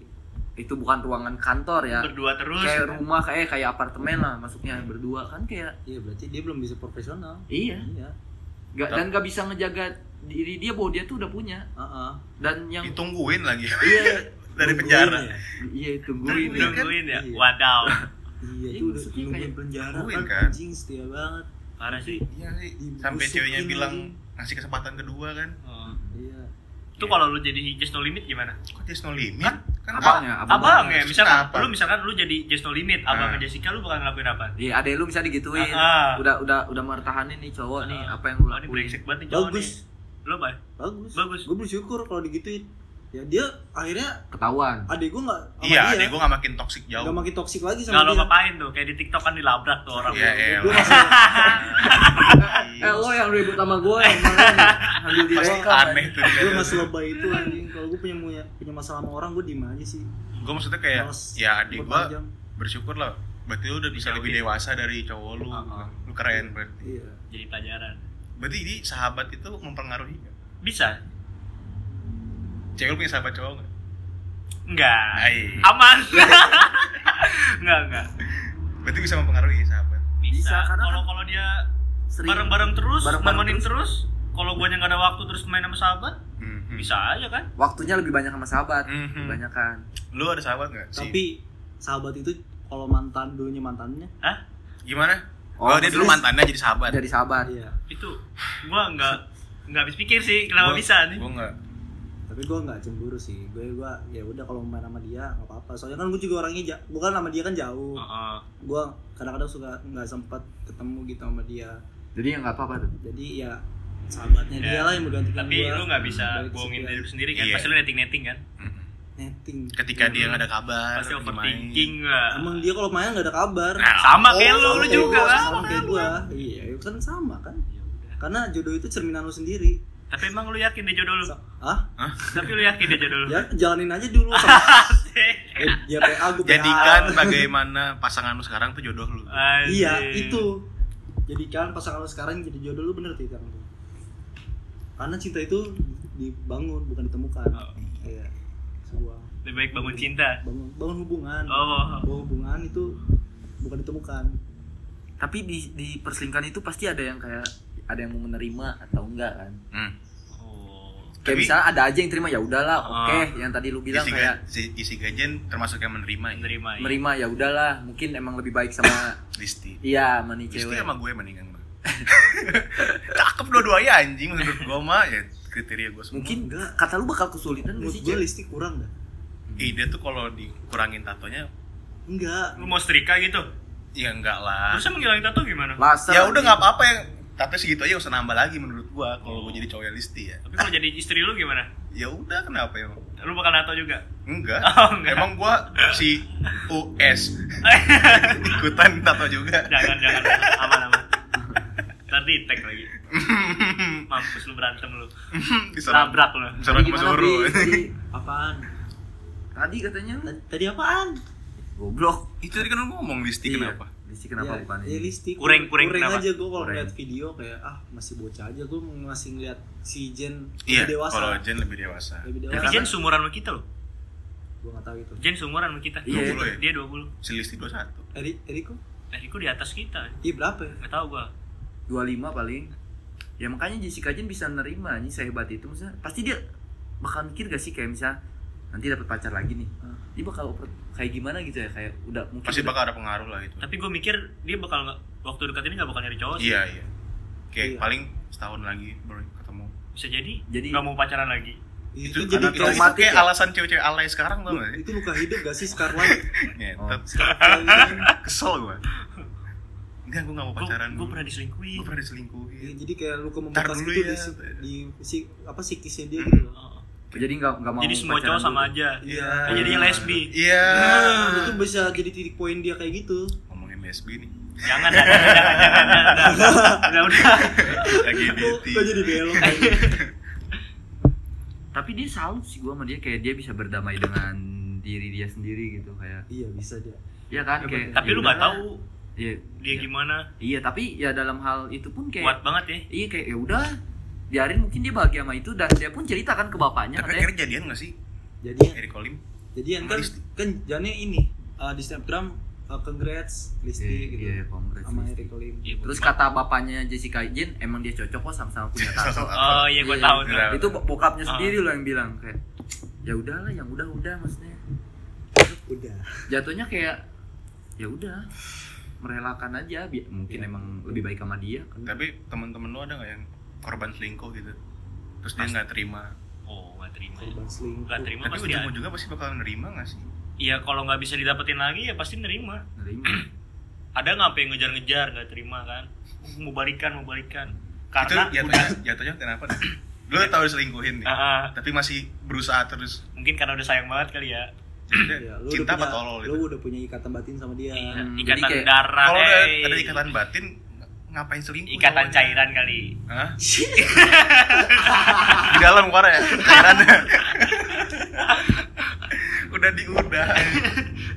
[SPEAKER 2] itu bukan ruangan kantor ya
[SPEAKER 3] Berdua terus.
[SPEAKER 2] kayak rumah kayak kayak apartemen lah masuknya berdua kan kayak
[SPEAKER 1] iya berarti dia belum bisa profesional
[SPEAKER 2] iya
[SPEAKER 1] iya
[SPEAKER 2] nggak dan nggak bisa ngejaga diri dia bahwa dia tuh udah punya
[SPEAKER 1] Heeh.
[SPEAKER 2] dan yang
[SPEAKER 4] ditungguin lagi
[SPEAKER 2] iya
[SPEAKER 4] dari
[SPEAKER 1] Nungguin
[SPEAKER 4] penjara
[SPEAKER 1] ya?
[SPEAKER 2] iya
[SPEAKER 4] Tungguin.
[SPEAKER 2] tungguin ya.
[SPEAKER 3] Nungguin ya.
[SPEAKER 1] Iya.
[SPEAKER 3] Wadaw.
[SPEAKER 1] iya
[SPEAKER 2] Iya,
[SPEAKER 1] itu udah
[SPEAKER 2] maksudnya
[SPEAKER 1] nungguin
[SPEAKER 2] kayak-
[SPEAKER 1] penjara
[SPEAKER 4] Nungguin,
[SPEAKER 1] kan
[SPEAKER 4] kan?
[SPEAKER 1] anjing setia banget
[SPEAKER 3] Parah sih.
[SPEAKER 4] iya sih
[SPEAKER 1] Dibusukin
[SPEAKER 4] sampai ceweknya
[SPEAKER 1] lagi.
[SPEAKER 4] bilang ngasih kesempatan kedua kan
[SPEAKER 3] Oh.
[SPEAKER 1] iya
[SPEAKER 3] Itu kalau lu jadi just no limit gimana?
[SPEAKER 4] kok dia no limit kan
[SPEAKER 2] abang ya abang
[SPEAKER 3] Abang ya, misalkan
[SPEAKER 4] Kenapa?
[SPEAKER 3] lu misalkan lu jadi just no limit,
[SPEAKER 4] Nah.
[SPEAKER 3] abang Jessica lu bakal ngelakuin apa?
[SPEAKER 2] iya ada lu bisa digituin
[SPEAKER 3] Ah, ah.
[SPEAKER 2] udah udah udah mertahanin nih cowok nih
[SPEAKER 3] Ah.
[SPEAKER 2] apa yang lu
[SPEAKER 3] Wah, ini
[SPEAKER 2] lakuin
[SPEAKER 3] brengsek banget nih cowok
[SPEAKER 2] ya?
[SPEAKER 1] bagus
[SPEAKER 3] nih. Lu apa?
[SPEAKER 1] bagus
[SPEAKER 3] Bagus.
[SPEAKER 1] gue bersyukur kalau digituin ya dia akhirnya
[SPEAKER 2] ketahuan
[SPEAKER 3] Ah,
[SPEAKER 1] adik gue nggak sama
[SPEAKER 4] iya
[SPEAKER 1] dia
[SPEAKER 4] adek gue gak makin toksik jauh
[SPEAKER 1] nggak makin toksik lagi
[SPEAKER 3] Nggak
[SPEAKER 1] sama
[SPEAKER 3] lo
[SPEAKER 1] dia
[SPEAKER 3] ngapain tuh, kayak di TikTok kan dilabrak tuh orang.
[SPEAKER 4] Iya, iya.
[SPEAKER 1] gue masih
[SPEAKER 3] iya.
[SPEAKER 2] eh lo yang ribut sama gue
[SPEAKER 3] Eh,
[SPEAKER 2] yang kemarin ambil di
[SPEAKER 4] pasti
[SPEAKER 2] rekam
[SPEAKER 4] aneh tuh
[SPEAKER 1] gue masih lebay itu anjing kalau gue punya punya masalah sama orang gue diem aja sih
[SPEAKER 4] gue maksudnya kayak
[SPEAKER 1] Males
[SPEAKER 4] ya adik gue
[SPEAKER 1] berpanjang.
[SPEAKER 4] bersyukur lah berarti lu udah bisa
[SPEAKER 3] Jauhin.
[SPEAKER 4] lebih dewasa dari cowok lu
[SPEAKER 1] Ah, ah.
[SPEAKER 4] lu keren berarti
[SPEAKER 1] iya
[SPEAKER 3] Jadi pelajaran.
[SPEAKER 4] berarti ini sahabat itu mempengaruhi nggak?
[SPEAKER 3] Bisa?
[SPEAKER 4] cewek lu punya sahabat cowok nggak
[SPEAKER 3] Enggak.
[SPEAKER 4] Hai.
[SPEAKER 3] Aman. Enggak, enggak.
[SPEAKER 4] berarti bisa mempengaruhi sahabat
[SPEAKER 2] Bisa,
[SPEAKER 3] Bisa.
[SPEAKER 2] karena
[SPEAKER 3] Kalau
[SPEAKER 2] kan-
[SPEAKER 3] kalau dia
[SPEAKER 2] Sering.
[SPEAKER 3] bareng-bareng terus,
[SPEAKER 2] Bareng-bareng
[SPEAKER 3] nemenin terus. Kalau gue nggak ada waktu terus main sama sahabat,
[SPEAKER 4] Hmm, hmm.
[SPEAKER 3] bisa aja kan?
[SPEAKER 2] waktunya lebih banyak sama sahabat
[SPEAKER 3] Hmm,
[SPEAKER 4] Mhm.
[SPEAKER 2] banyak kan
[SPEAKER 4] lu ada sahabat nggak sih
[SPEAKER 1] tapi sahabat itu kalau mantan dulunya mantannya
[SPEAKER 4] gimana oh, dia dulu
[SPEAKER 2] maksudnya
[SPEAKER 4] mantannya jadi sahabat
[SPEAKER 2] dari sahabat
[SPEAKER 1] iya
[SPEAKER 3] Itu gue nggak nggak habis pikir sih kenapa bisa nih.
[SPEAKER 4] gue nggak
[SPEAKER 1] tapi gue nggak cemburu sih gue gue ya udah kalau main sama dia nggak apa-apa soalnya kan gue juga orangnya ja- bukan sama dia kan jauh
[SPEAKER 3] Heeh.
[SPEAKER 1] gue kadang-kadang suka nggak sempat ketemu gitu sama dia
[SPEAKER 2] jadi ya nggak apa-apa tuh
[SPEAKER 1] jadi ya sahabatnya
[SPEAKER 3] Ya,
[SPEAKER 1] dia lah yang menggantikan
[SPEAKER 3] Tapi
[SPEAKER 1] gua
[SPEAKER 3] lu nggak bisa
[SPEAKER 1] dari
[SPEAKER 3] bohongin
[SPEAKER 1] kesepian.
[SPEAKER 3] diri lu sendiri kan?
[SPEAKER 4] Iya.
[SPEAKER 3] Pasti lu netting-netting kan?
[SPEAKER 4] Mm-mm.
[SPEAKER 1] ya. netting
[SPEAKER 4] ketika dia
[SPEAKER 1] Mhm.
[SPEAKER 4] nggak ada kabar
[SPEAKER 3] Pasti
[SPEAKER 4] gimana.
[SPEAKER 3] overthinking lah.
[SPEAKER 1] emang dia kalau main nggak ada kabar
[SPEAKER 3] Nah, sama kayak
[SPEAKER 4] Oh,
[SPEAKER 3] lu,
[SPEAKER 1] Sama
[SPEAKER 3] lu
[SPEAKER 1] kayak
[SPEAKER 3] juga Ah,
[SPEAKER 1] gua,
[SPEAKER 3] kan? lah.
[SPEAKER 1] sama kayak gua iya ya kan sama kan
[SPEAKER 3] Ya udah.
[SPEAKER 1] karena jodoh itu cerminan lu sendiri
[SPEAKER 3] Tapi emang lu yakin dia jodoh lu?
[SPEAKER 1] So- ah
[SPEAKER 3] Tapi lu yakin dia jodoh lu?
[SPEAKER 1] ya jalanin aja dulu sama eh, ya PA gua PA.
[SPEAKER 4] jadikan bagaimana pasangan lu sekarang tuh jodoh lu
[SPEAKER 3] Anjing.
[SPEAKER 1] iya itu jadikan pasangan lu sekarang jadi jodoh lu bener tidak karena cinta itu dibangun bukan ditemukan
[SPEAKER 3] Oh,
[SPEAKER 1] iya sebuah
[SPEAKER 3] Lebih baik bangun cinta.
[SPEAKER 1] bangun, bangun hubungan
[SPEAKER 3] Oh,
[SPEAKER 1] bahwa hubungan itu bukan ditemukan
[SPEAKER 2] tapi di di perselingkuhan itu pasti ada yang kayak ada yang mau menerima atau enggak kan
[SPEAKER 4] Hmm.
[SPEAKER 3] oh.
[SPEAKER 2] kayak
[SPEAKER 4] Tapi-
[SPEAKER 2] misalnya ada aja yang terima ya udahlah
[SPEAKER 3] Ah.
[SPEAKER 2] oke yang tadi lu bilang
[SPEAKER 4] isi,
[SPEAKER 2] kayak
[SPEAKER 4] ga- si- isi gajian termasuk yang menerima ya?
[SPEAKER 3] menerima. ya.
[SPEAKER 2] menerima ya udahlah mungkin emang lebih baik sama
[SPEAKER 4] listi
[SPEAKER 2] iya mani
[SPEAKER 4] listi
[SPEAKER 2] cewek
[SPEAKER 4] sama gue mendingan mah cakep dua-duanya anjing menurut gue mah ya kriteria gue semua
[SPEAKER 2] mungkin kata lu bakal kesulitan gak
[SPEAKER 1] menurut
[SPEAKER 2] sih
[SPEAKER 1] gue
[SPEAKER 2] cewek
[SPEAKER 1] listing kurang dah
[SPEAKER 4] Ih, dia tuh kalau dikurangin tatonya
[SPEAKER 1] enggak
[SPEAKER 3] Lu mau setrika gitu?
[SPEAKER 4] ya enggak lah
[SPEAKER 3] Terus emang ngilangin tato gimana?
[SPEAKER 2] laser gitu.
[SPEAKER 4] ya udah nggak apa-apa yang tapi segitu aja nggak usah nambah lagi menurut gua kalau gua jadi cowok yang listi ya.
[SPEAKER 3] Tapi kalau jadi istri lu gimana?
[SPEAKER 4] Ya udah kenapa ya?
[SPEAKER 3] Lu bakal nato juga?
[SPEAKER 4] Enggak.
[SPEAKER 3] Oh, enggak.
[SPEAKER 4] Emang gua si US ikutan tato juga.
[SPEAKER 3] Jangan, jangan, jangan. aman, aman. Ntar di tag lagi. Mampus lu berantem lu.
[SPEAKER 4] Diserang.
[SPEAKER 3] Labrak lu.
[SPEAKER 4] Diserang sama
[SPEAKER 1] Tadi gimana,
[SPEAKER 4] Suruh.
[SPEAKER 1] Pri? Tadi apaan?
[SPEAKER 2] Tadi katanya lu
[SPEAKER 1] Tadi- Tadi apaan?
[SPEAKER 2] goblok.
[SPEAKER 4] Itu tadi kan lu ngomong listi
[SPEAKER 2] Iya.
[SPEAKER 4] kenapa?
[SPEAKER 2] Listi kenapa
[SPEAKER 1] Ya,
[SPEAKER 2] bukan?
[SPEAKER 1] ya,
[SPEAKER 2] ini?
[SPEAKER 1] listik.
[SPEAKER 3] Kureng, kureng, kenapa?
[SPEAKER 1] aja gue kalau
[SPEAKER 2] Kureng.
[SPEAKER 1] ngeliat video kayak ah masih bocah aja gue masih ngeliat si Jen lebih
[SPEAKER 4] Iya,
[SPEAKER 1] dewasa
[SPEAKER 4] kalau Jen lebih dewasa.
[SPEAKER 1] lebih
[SPEAKER 3] Tapi
[SPEAKER 1] dewasa
[SPEAKER 3] Jen sumuran sama kita loh.
[SPEAKER 1] gue nggak tahu itu
[SPEAKER 3] Jen seumuran sama kita.
[SPEAKER 2] Iya.
[SPEAKER 4] 20 ya?
[SPEAKER 3] Dia 20.
[SPEAKER 4] Si listi 21.
[SPEAKER 1] Eri Eriko
[SPEAKER 3] Nah, Riku di atas kita.
[SPEAKER 1] iya berapa ya
[SPEAKER 3] Gak tau gua.
[SPEAKER 2] 25 paling. Ya makanya Jessica Jen bisa nerima nih sehebat itu maksudnya. Pasti dia bakal mikir gak sih kayak misalnya nanti dapat pacar lagi nih.
[SPEAKER 1] Hmm.
[SPEAKER 2] Dia bakal oper- kayak gimana gitu ya kayak udah mungkin
[SPEAKER 4] Pasti
[SPEAKER 2] udah-
[SPEAKER 4] bakal ada pengaruh lah itu.
[SPEAKER 3] Tapi gua mikir dia bakal nggak- waktu dekat ini gak bakal nyari cowok sih.
[SPEAKER 4] Iya, iya. Kayak
[SPEAKER 1] Iya.
[SPEAKER 4] paling setahun lagi baru ketemu.
[SPEAKER 3] Bisa jadi,
[SPEAKER 2] Jadi-
[SPEAKER 3] gak mau pacaran lagi.
[SPEAKER 1] Iya, itu,
[SPEAKER 4] karena
[SPEAKER 1] jadi
[SPEAKER 4] itu,
[SPEAKER 1] kayak,
[SPEAKER 4] itu
[SPEAKER 2] traumatik
[SPEAKER 4] kayak
[SPEAKER 2] ya?
[SPEAKER 4] alasan cewek-cewek alay sekarang tau gak sih?
[SPEAKER 1] itu luka hidup gak sih Scarlet
[SPEAKER 2] Oh,
[SPEAKER 4] Ngetet.
[SPEAKER 1] Scarlet
[SPEAKER 4] Kesel gua. Enggak, gua gak mau
[SPEAKER 3] Gua,
[SPEAKER 4] pacaran.
[SPEAKER 3] gua
[SPEAKER 4] dulu.
[SPEAKER 3] pernah diselingkuhin.
[SPEAKER 4] Gua pernah
[SPEAKER 1] Ya,
[SPEAKER 4] diselingkuhin.
[SPEAKER 1] jadi kayak luka
[SPEAKER 4] Ntar
[SPEAKER 1] membekas
[SPEAKER 4] dulu
[SPEAKER 1] gitu di,
[SPEAKER 4] ya.
[SPEAKER 1] si- di, si- apa psikisnya dia
[SPEAKER 4] Hmm.
[SPEAKER 1] gitu loh.
[SPEAKER 3] Oh.
[SPEAKER 2] jadi nggak nggak mau
[SPEAKER 3] Jadi semua
[SPEAKER 2] pacaran
[SPEAKER 3] cowok sama
[SPEAKER 2] dulu.
[SPEAKER 3] aja.
[SPEAKER 1] Iya.
[SPEAKER 3] Kan jadinya lesbi. Ah.
[SPEAKER 4] Iya.
[SPEAKER 1] Nah, itu bisa jadi titik poin dia kayak gitu.
[SPEAKER 4] Ngomongin lesbi nih.
[SPEAKER 3] Jangan, jangan, jangan, jangan, jangan, jangan. Udah, udah.
[SPEAKER 1] Kok
[SPEAKER 4] LGBT.
[SPEAKER 1] kok jadi belok.
[SPEAKER 2] Tapi dia salut sih gua sama dia kayak dia bisa berdamai dengan diri dia sendiri gitu kayak
[SPEAKER 1] iya, bisa dia.
[SPEAKER 2] Iya kan
[SPEAKER 1] Ya,
[SPEAKER 2] kayak
[SPEAKER 3] Tapi lu
[SPEAKER 2] nggak
[SPEAKER 3] gak tahu
[SPEAKER 2] Iya.
[SPEAKER 3] dia
[SPEAKER 2] iya.
[SPEAKER 3] gimana.
[SPEAKER 2] Iya, tapi ya dalam hal itu pun kayak
[SPEAKER 3] Kuat banget ya.
[SPEAKER 2] iya kayak ya udah biarin mungkin dia bahagia sama itu dan dia pun ceritakan ke bapaknya
[SPEAKER 4] Tapi
[SPEAKER 2] katanya
[SPEAKER 4] akhirnya jadian gak sih?
[SPEAKER 1] Jadi
[SPEAKER 4] Eric Olim?
[SPEAKER 1] jadi kan
[SPEAKER 4] Listi.
[SPEAKER 1] kan jadinya ini eh, di Instagram eh, congrats Listi
[SPEAKER 2] Iya,
[SPEAKER 1] gitu.
[SPEAKER 2] iya, congrats,
[SPEAKER 1] sama
[SPEAKER 2] Listi.
[SPEAKER 1] Eric Lim.
[SPEAKER 3] Iya,
[SPEAKER 2] terus kata bapaknya Jessica Jen emang dia cocok kok sama-sama punya tato
[SPEAKER 3] Oh iya gua
[SPEAKER 2] Iya.
[SPEAKER 3] tahu tuh.
[SPEAKER 4] Beneran.
[SPEAKER 2] itu bo- bokapnya
[SPEAKER 3] Ah.
[SPEAKER 2] sendiri loh yang bilang kayak ya udahlah yang udah udah maksudnya
[SPEAKER 1] Udah.
[SPEAKER 2] jatuhnya kayak ya udah merelakan aja bi- mungkin
[SPEAKER 1] Iya.
[SPEAKER 2] emang lebih baik sama dia kan
[SPEAKER 4] Tapi teman-teman lu ada gak yang korban selingkuh gitu? Terus dia
[SPEAKER 3] Pasti.
[SPEAKER 4] gak terima.
[SPEAKER 3] Oh gak terima. ya.
[SPEAKER 1] Korban selingkuh.
[SPEAKER 3] Gak terima
[SPEAKER 4] Tapi
[SPEAKER 3] pasti ada.
[SPEAKER 4] ujung-ujungnya pasti bakal nerima gak sih?
[SPEAKER 3] Iya kalau nggak bisa didapetin lagi ya pasti nerima.
[SPEAKER 2] nerima
[SPEAKER 3] Ada nggak apa yang ngejar-ngejar nggak terima kan? Mau balikan mau balikan. Karena
[SPEAKER 4] itu gitu. jatuhnya, jatuhnya kenapa? nih? lu tau diselingkuhin nih.
[SPEAKER 3] Ah, ah.
[SPEAKER 4] Tapi masih berusaha terus.
[SPEAKER 3] mungkin karena udah sayang banget kali ya.
[SPEAKER 1] Iya,
[SPEAKER 4] Jadi,
[SPEAKER 1] lu
[SPEAKER 4] cinta apa
[SPEAKER 1] udah punya,
[SPEAKER 4] tolol
[SPEAKER 1] lu
[SPEAKER 4] itu?
[SPEAKER 1] udah punya ikatan batin sama dia.
[SPEAKER 3] Iya,
[SPEAKER 2] Hmm,
[SPEAKER 3] ikatan
[SPEAKER 2] jadi kayak-
[SPEAKER 3] darah.
[SPEAKER 4] Kalau udah
[SPEAKER 3] hey.
[SPEAKER 4] ada ikatan batin, ngapain selingkuh?
[SPEAKER 3] Ikatan
[SPEAKER 4] cowoknya?
[SPEAKER 3] cairan kali.
[SPEAKER 4] Hah? Di dalam keluar ya? Cairannya. udah diudah.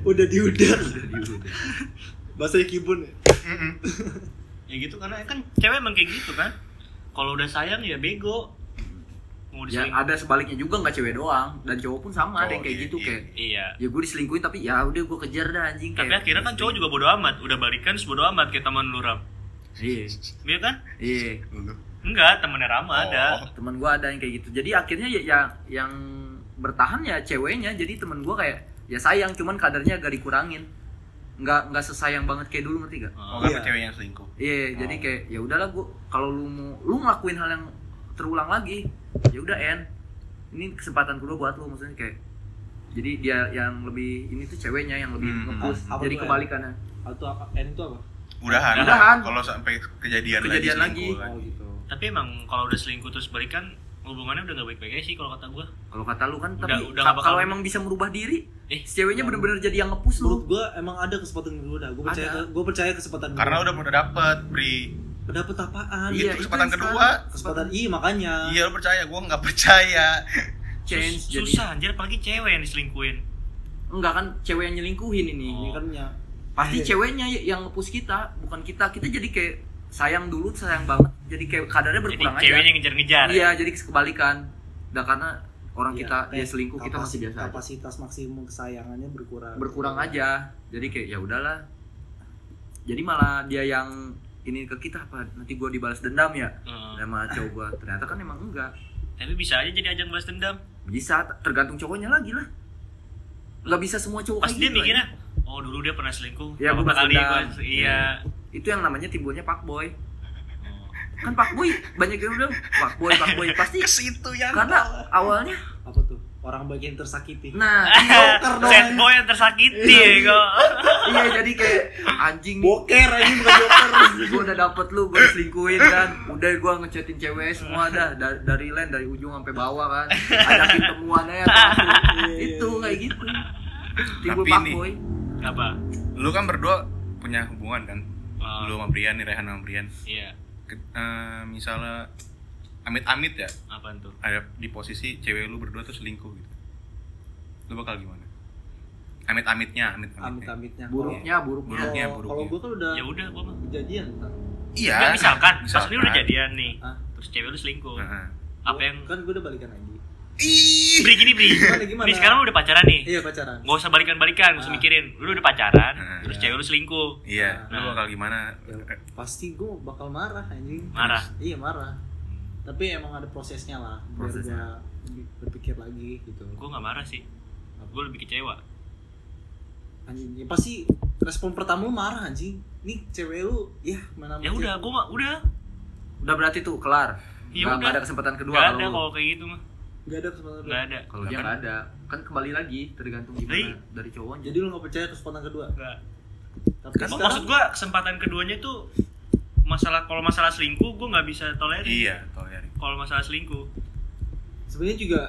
[SPEAKER 1] udah diudah.
[SPEAKER 2] Jadi udah.
[SPEAKER 1] Bahasa Kibun. ya?
[SPEAKER 4] Mm-mm.
[SPEAKER 3] Ya gitu karena kan cewek emang kayak gitu kan. Kalau udah sayang ya bego. Mau
[SPEAKER 2] ya
[SPEAKER 3] diselingkuh.
[SPEAKER 2] ada sebaliknya juga nggak cewek doang dan cowok pun sama ada yang
[SPEAKER 4] Cowok,
[SPEAKER 2] kayak
[SPEAKER 4] iya,
[SPEAKER 2] gitu
[SPEAKER 4] iya.
[SPEAKER 2] kayak
[SPEAKER 3] Iya.
[SPEAKER 2] ya gue diselingkuhin tapi ya udah gue kejar dah anjing
[SPEAKER 3] Tapi
[SPEAKER 2] kayak-
[SPEAKER 3] akhirnya kan cowok juga bodo amat, udah balikan terus bodo amat kayak teman lu Ram.
[SPEAKER 2] iya
[SPEAKER 3] Iya kan?
[SPEAKER 2] iya
[SPEAKER 4] Lu.
[SPEAKER 3] Enggak, temennya Rama ada.
[SPEAKER 4] Oh.
[SPEAKER 2] teman gue ada yang kayak gitu jadi akhirnya ya, ya- yang bertahan ya ceweknya jadi temen gue kayak ya sayang cuman kadarnya agak dikurangin nggak nggak sesayang banget kayak dulu ngerti gak
[SPEAKER 4] Oh,
[SPEAKER 3] Oh.
[SPEAKER 4] karena
[SPEAKER 1] Iya.
[SPEAKER 4] cewek yang selingkuh.
[SPEAKER 2] iya jadi kayak ya udahlah gue kalau lu mau lu ngelakuin hal yang terulang lagi ya udah en ini kesempatan kedua buat lu maksudnya kayak jadi dia yang lebih ini tuh ceweknya yang lebih
[SPEAKER 4] Hmm.
[SPEAKER 2] nge-push.
[SPEAKER 1] Apa
[SPEAKER 2] jadi
[SPEAKER 1] tuh, En?
[SPEAKER 2] kebalikannya
[SPEAKER 1] Atau apa? N itu apa?
[SPEAKER 4] Udahan.
[SPEAKER 2] Udahan.
[SPEAKER 4] Kalau sampai kejadian,
[SPEAKER 2] Kejadian lagi.
[SPEAKER 4] selingkuh kan.
[SPEAKER 1] Oh gitu.
[SPEAKER 3] Tapi emang kalau udah selingkuh terus balikan hubungannya udah gak baik-baik aja sih kalau kata gua.
[SPEAKER 2] kalau kata lu kan tapi ka-
[SPEAKER 3] udah nggak bakal-
[SPEAKER 2] kalau emang bisa merubah diri
[SPEAKER 3] Eh,
[SPEAKER 2] si ceweknya bener-bener jadi yang ngepus
[SPEAKER 1] Menurut
[SPEAKER 2] lu
[SPEAKER 1] gue emang ada kesempatan kedua dah. Gue percaya,
[SPEAKER 2] Ada.
[SPEAKER 1] gue percaya kesempatan. kedua.
[SPEAKER 4] Karena udah udah dapet, Bri.
[SPEAKER 1] Dapat
[SPEAKER 4] Iya.
[SPEAKER 1] apaan?
[SPEAKER 4] itu
[SPEAKER 2] yang
[SPEAKER 4] kesempatan
[SPEAKER 2] sekarang.
[SPEAKER 4] kedua.
[SPEAKER 1] Kesempatan i makanya.
[SPEAKER 4] Iya, lu percaya? Gua nggak percaya.
[SPEAKER 2] change
[SPEAKER 3] Sus-
[SPEAKER 2] jadi
[SPEAKER 3] susah anjir apalagi cewek yang diselingkuin.
[SPEAKER 2] enggak kan cewek yang nyelingkuhin ini
[SPEAKER 1] Ini
[SPEAKER 3] Oh.
[SPEAKER 1] kan ya.
[SPEAKER 2] pasti
[SPEAKER 1] Iya.
[SPEAKER 2] ceweknya y- yang ngepus kita bukan kita kita jadi kayak sayang dulu sayang banget jadi kayak kadarnya
[SPEAKER 3] Jadi
[SPEAKER 2] berkurang
[SPEAKER 3] ceweknya
[SPEAKER 2] aja
[SPEAKER 3] ngejar-ngejar.
[SPEAKER 2] iya jadi kebalikan Nah, karena orang
[SPEAKER 1] Iya,
[SPEAKER 2] kita dia
[SPEAKER 1] kayak
[SPEAKER 2] selingkuh kita
[SPEAKER 1] kapas-
[SPEAKER 2] masih biasa aja.
[SPEAKER 1] Kapasitas maksimum kesayangannya berkurang.
[SPEAKER 2] berkurang aja jadi kayak ya udahlah jadi malah dia yang ini ke kita apa nanti gua dibalas dendam ya
[SPEAKER 3] Hmm.
[SPEAKER 2] sama cowok gua ternyata kan emang enggak
[SPEAKER 3] Tapi bisa aja jadi ajang balas dendam.
[SPEAKER 2] bisa t- tergantung cowoknya lagi lah nggak bisa semua cowok
[SPEAKER 3] Pas
[SPEAKER 2] kayak
[SPEAKER 3] dia
[SPEAKER 2] gitu,
[SPEAKER 3] mikirnya, oh dulu dia pernah selingkuh.
[SPEAKER 2] Ya, gua
[SPEAKER 3] berapa
[SPEAKER 2] balas
[SPEAKER 3] kali
[SPEAKER 2] dendam.
[SPEAKER 3] gua- Iya.
[SPEAKER 2] anjing. itu yang namanya timbulnya pak boy kan pak boy banyak yang udah pak boy pak boy pasti
[SPEAKER 4] Ke situ ya.
[SPEAKER 2] karena awalnya
[SPEAKER 1] Apa tuh? orang bagian tersakiti
[SPEAKER 2] Nah,
[SPEAKER 1] Joker dong
[SPEAKER 3] Sad boy yang tersakiti ya kok.
[SPEAKER 2] iya jadi kayak anjing nih
[SPEAKER 1] boker aja bukan joker
[SPEAKER 2] gue udah dapet lu gue selingkuhin kan udah gue ngechatin cewek semua dah dari, dari land dari ujung sampai bawah kan ajakin temuan aja takut.
[SPEAKER 1] Iya,
[SPEAKER 2] itu kayak gitu timbul
[SPEAKER 4] Tapi nih,
[SPEAKER 2] pakoy
[SPEAKER 3] Apa?
[SPEAKER 4] lu kan berdua punya hubungan kan
[SPEAKER 3] Ah.
[SPEAKER 4] lu sama Brian nih Rehan sama Brian
[SPEAKER 3] Iya.
[SPEAKER 4] Ke- eh, misalnya amit-amit ya
[SPEAKER 3] Apaan tuh?
[SPEAKER 4] ada di posisi cewek lu berdua tuh selingkuh gitu lu bakal gimana amit-amitnya
[SPEAKER 1] amit
[SPEAKER 4] amit-amitnya
[SPEAKER 1] amitnya
[SPEAKER 2] buruknya
[SPEAKER 3] iya.
[SPEAKER 2] buruknya
[SPEAKER 4] Buruknya,
[SPEAKER 1] kalau kalau
[SPEAKER 4] buruknya.
[SPEAKER 1] gue kan udah
[SPEAKER 3] Ya udah gua mah.
[SPEAKER 1] kejadian
[SPEAKER 4] iya
[SPEAKER 3] Nggak, misalkan, pas lu udah
[SPEAKER 4] misalkan.
[SPEAKER 3] jadian nih.
[SPEAKER 1] Hah?
[SPEAKER 3] Terus cewek lu selingkuh.
[SPEAKER 4] Heeh.
[SPEAKER 3] Apa yang
[SPEAKER 1] kan gue udah balikan lagi
[SPEAKER 4] Ih,
[SPEAKER 3] Bri gini Bri.
[SPEAKER 1] Gimana, gimana?
[SPEAKER 3] Bri sekarang lu udah pacaran nih.
[SPEAKER 1] iya pacaran
[SPEAKER 3] Gak usah balikan-balikan, gak
[SPEAKER 1] Ah.
[SPEAKER 3] usah mikirin. Lu udah pacaran,
[SPEAKER 4] Ah,
[SPEAKER 3] terus
[SPEAKER 1] iya.
[SPEAKER 3] cewek lu selingkuh.
[SPEAKER 4] iya lu
[SPEAKER 3] Nah.
[SPEAKER 4] bakal gimana
[SPEAKER 1] Ya, pasti gue bakal marah anjing
[SPEAKER 3] Marah? Hmm.
[SPEAKER 1] iya marah tapi emang ada prosesnya lah biar
[SPEAKER 2] Prosesnya.
[SPEAKER 1] gue berpikir lagi gitu
[SPEAKER 3] Gua nggak marah sih. Gua lebih kecewa.
[SPEAKER 1] anjing ya pasti respon pertama lu marah anjing nih cewek lu ya mana
[SPEAKER 3] Ya udah, gua mah udah.
[SPEAKER 2] udah berarti tuh kelar nggak
[SPEAKER 3] Ya udah.
[SPEAKER 2] nggak ada kesempatan kedua
[SPEAKER 3] Gak ada
[SPEAKER 2] kalau lu.
[SPEAKER 3] kalau kayak gitu mah.
[SPEAKER 1] gak ada kesempatan
[SPEAKER 3] Gak ada.
[SPEAKER 2] kalau dia nggak ada kan kembali lagi tergantung gimana dari cowoknya
[SPEAKER 1] jadi lu gak percaya kesempatan kedua
[SPEAKER 3] Gak.
[SPEAKER 1] tapi
[SPEAKER 3] Gua-
[SPEAKER 1] sekarang
[SPEAKER 3] maksud gua kesempatan keduanya tuh masalah kalau masalah selingkuh gua nggak bisa tolerir.
[SPEAKER 4] iya tolerir
[SPEAKER 3] Kalau masalah selingkuh.
[SPEAKER 1] sebenarnya juga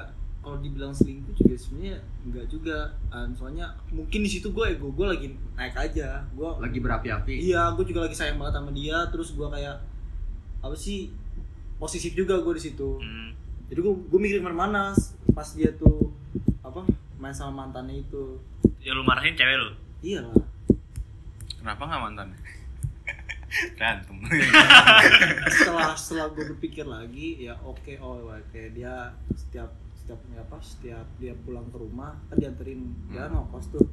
[SPEAKER 1] kalau dibilang selingkuh juga sebenarnya enggak juga Ah, soalnya mungkin di situ gue ego gue lagi naik aja gue
[SPEAKER 2] lagi berapi-api Hmm.
[SPEAKER 1] iya gue juga lagi sayang banget sama dia terus gue kayak apa sih posesif juga gue di situ
[SPEAKER 3] Hmm.
[SPEAKER 1] jadi gue gue mikir kemana-mana pas dia tuh apa main sama mantannya itu
[SPEAKER 3] Ya lu marahin cewek lu.
[SPEAKER 1] iya lah
[SPEAKER 4] kenapa nggak mantan berantem
[SPEAKER 1] setelah setelah gue berpikir lagi ya oke oh oke dia setiap setiap ya apa setiap dia pulang ke rumah kan dianterin dia
[SPEAKER 4] Hmm.
[SPEAKER 1] ngokos tuh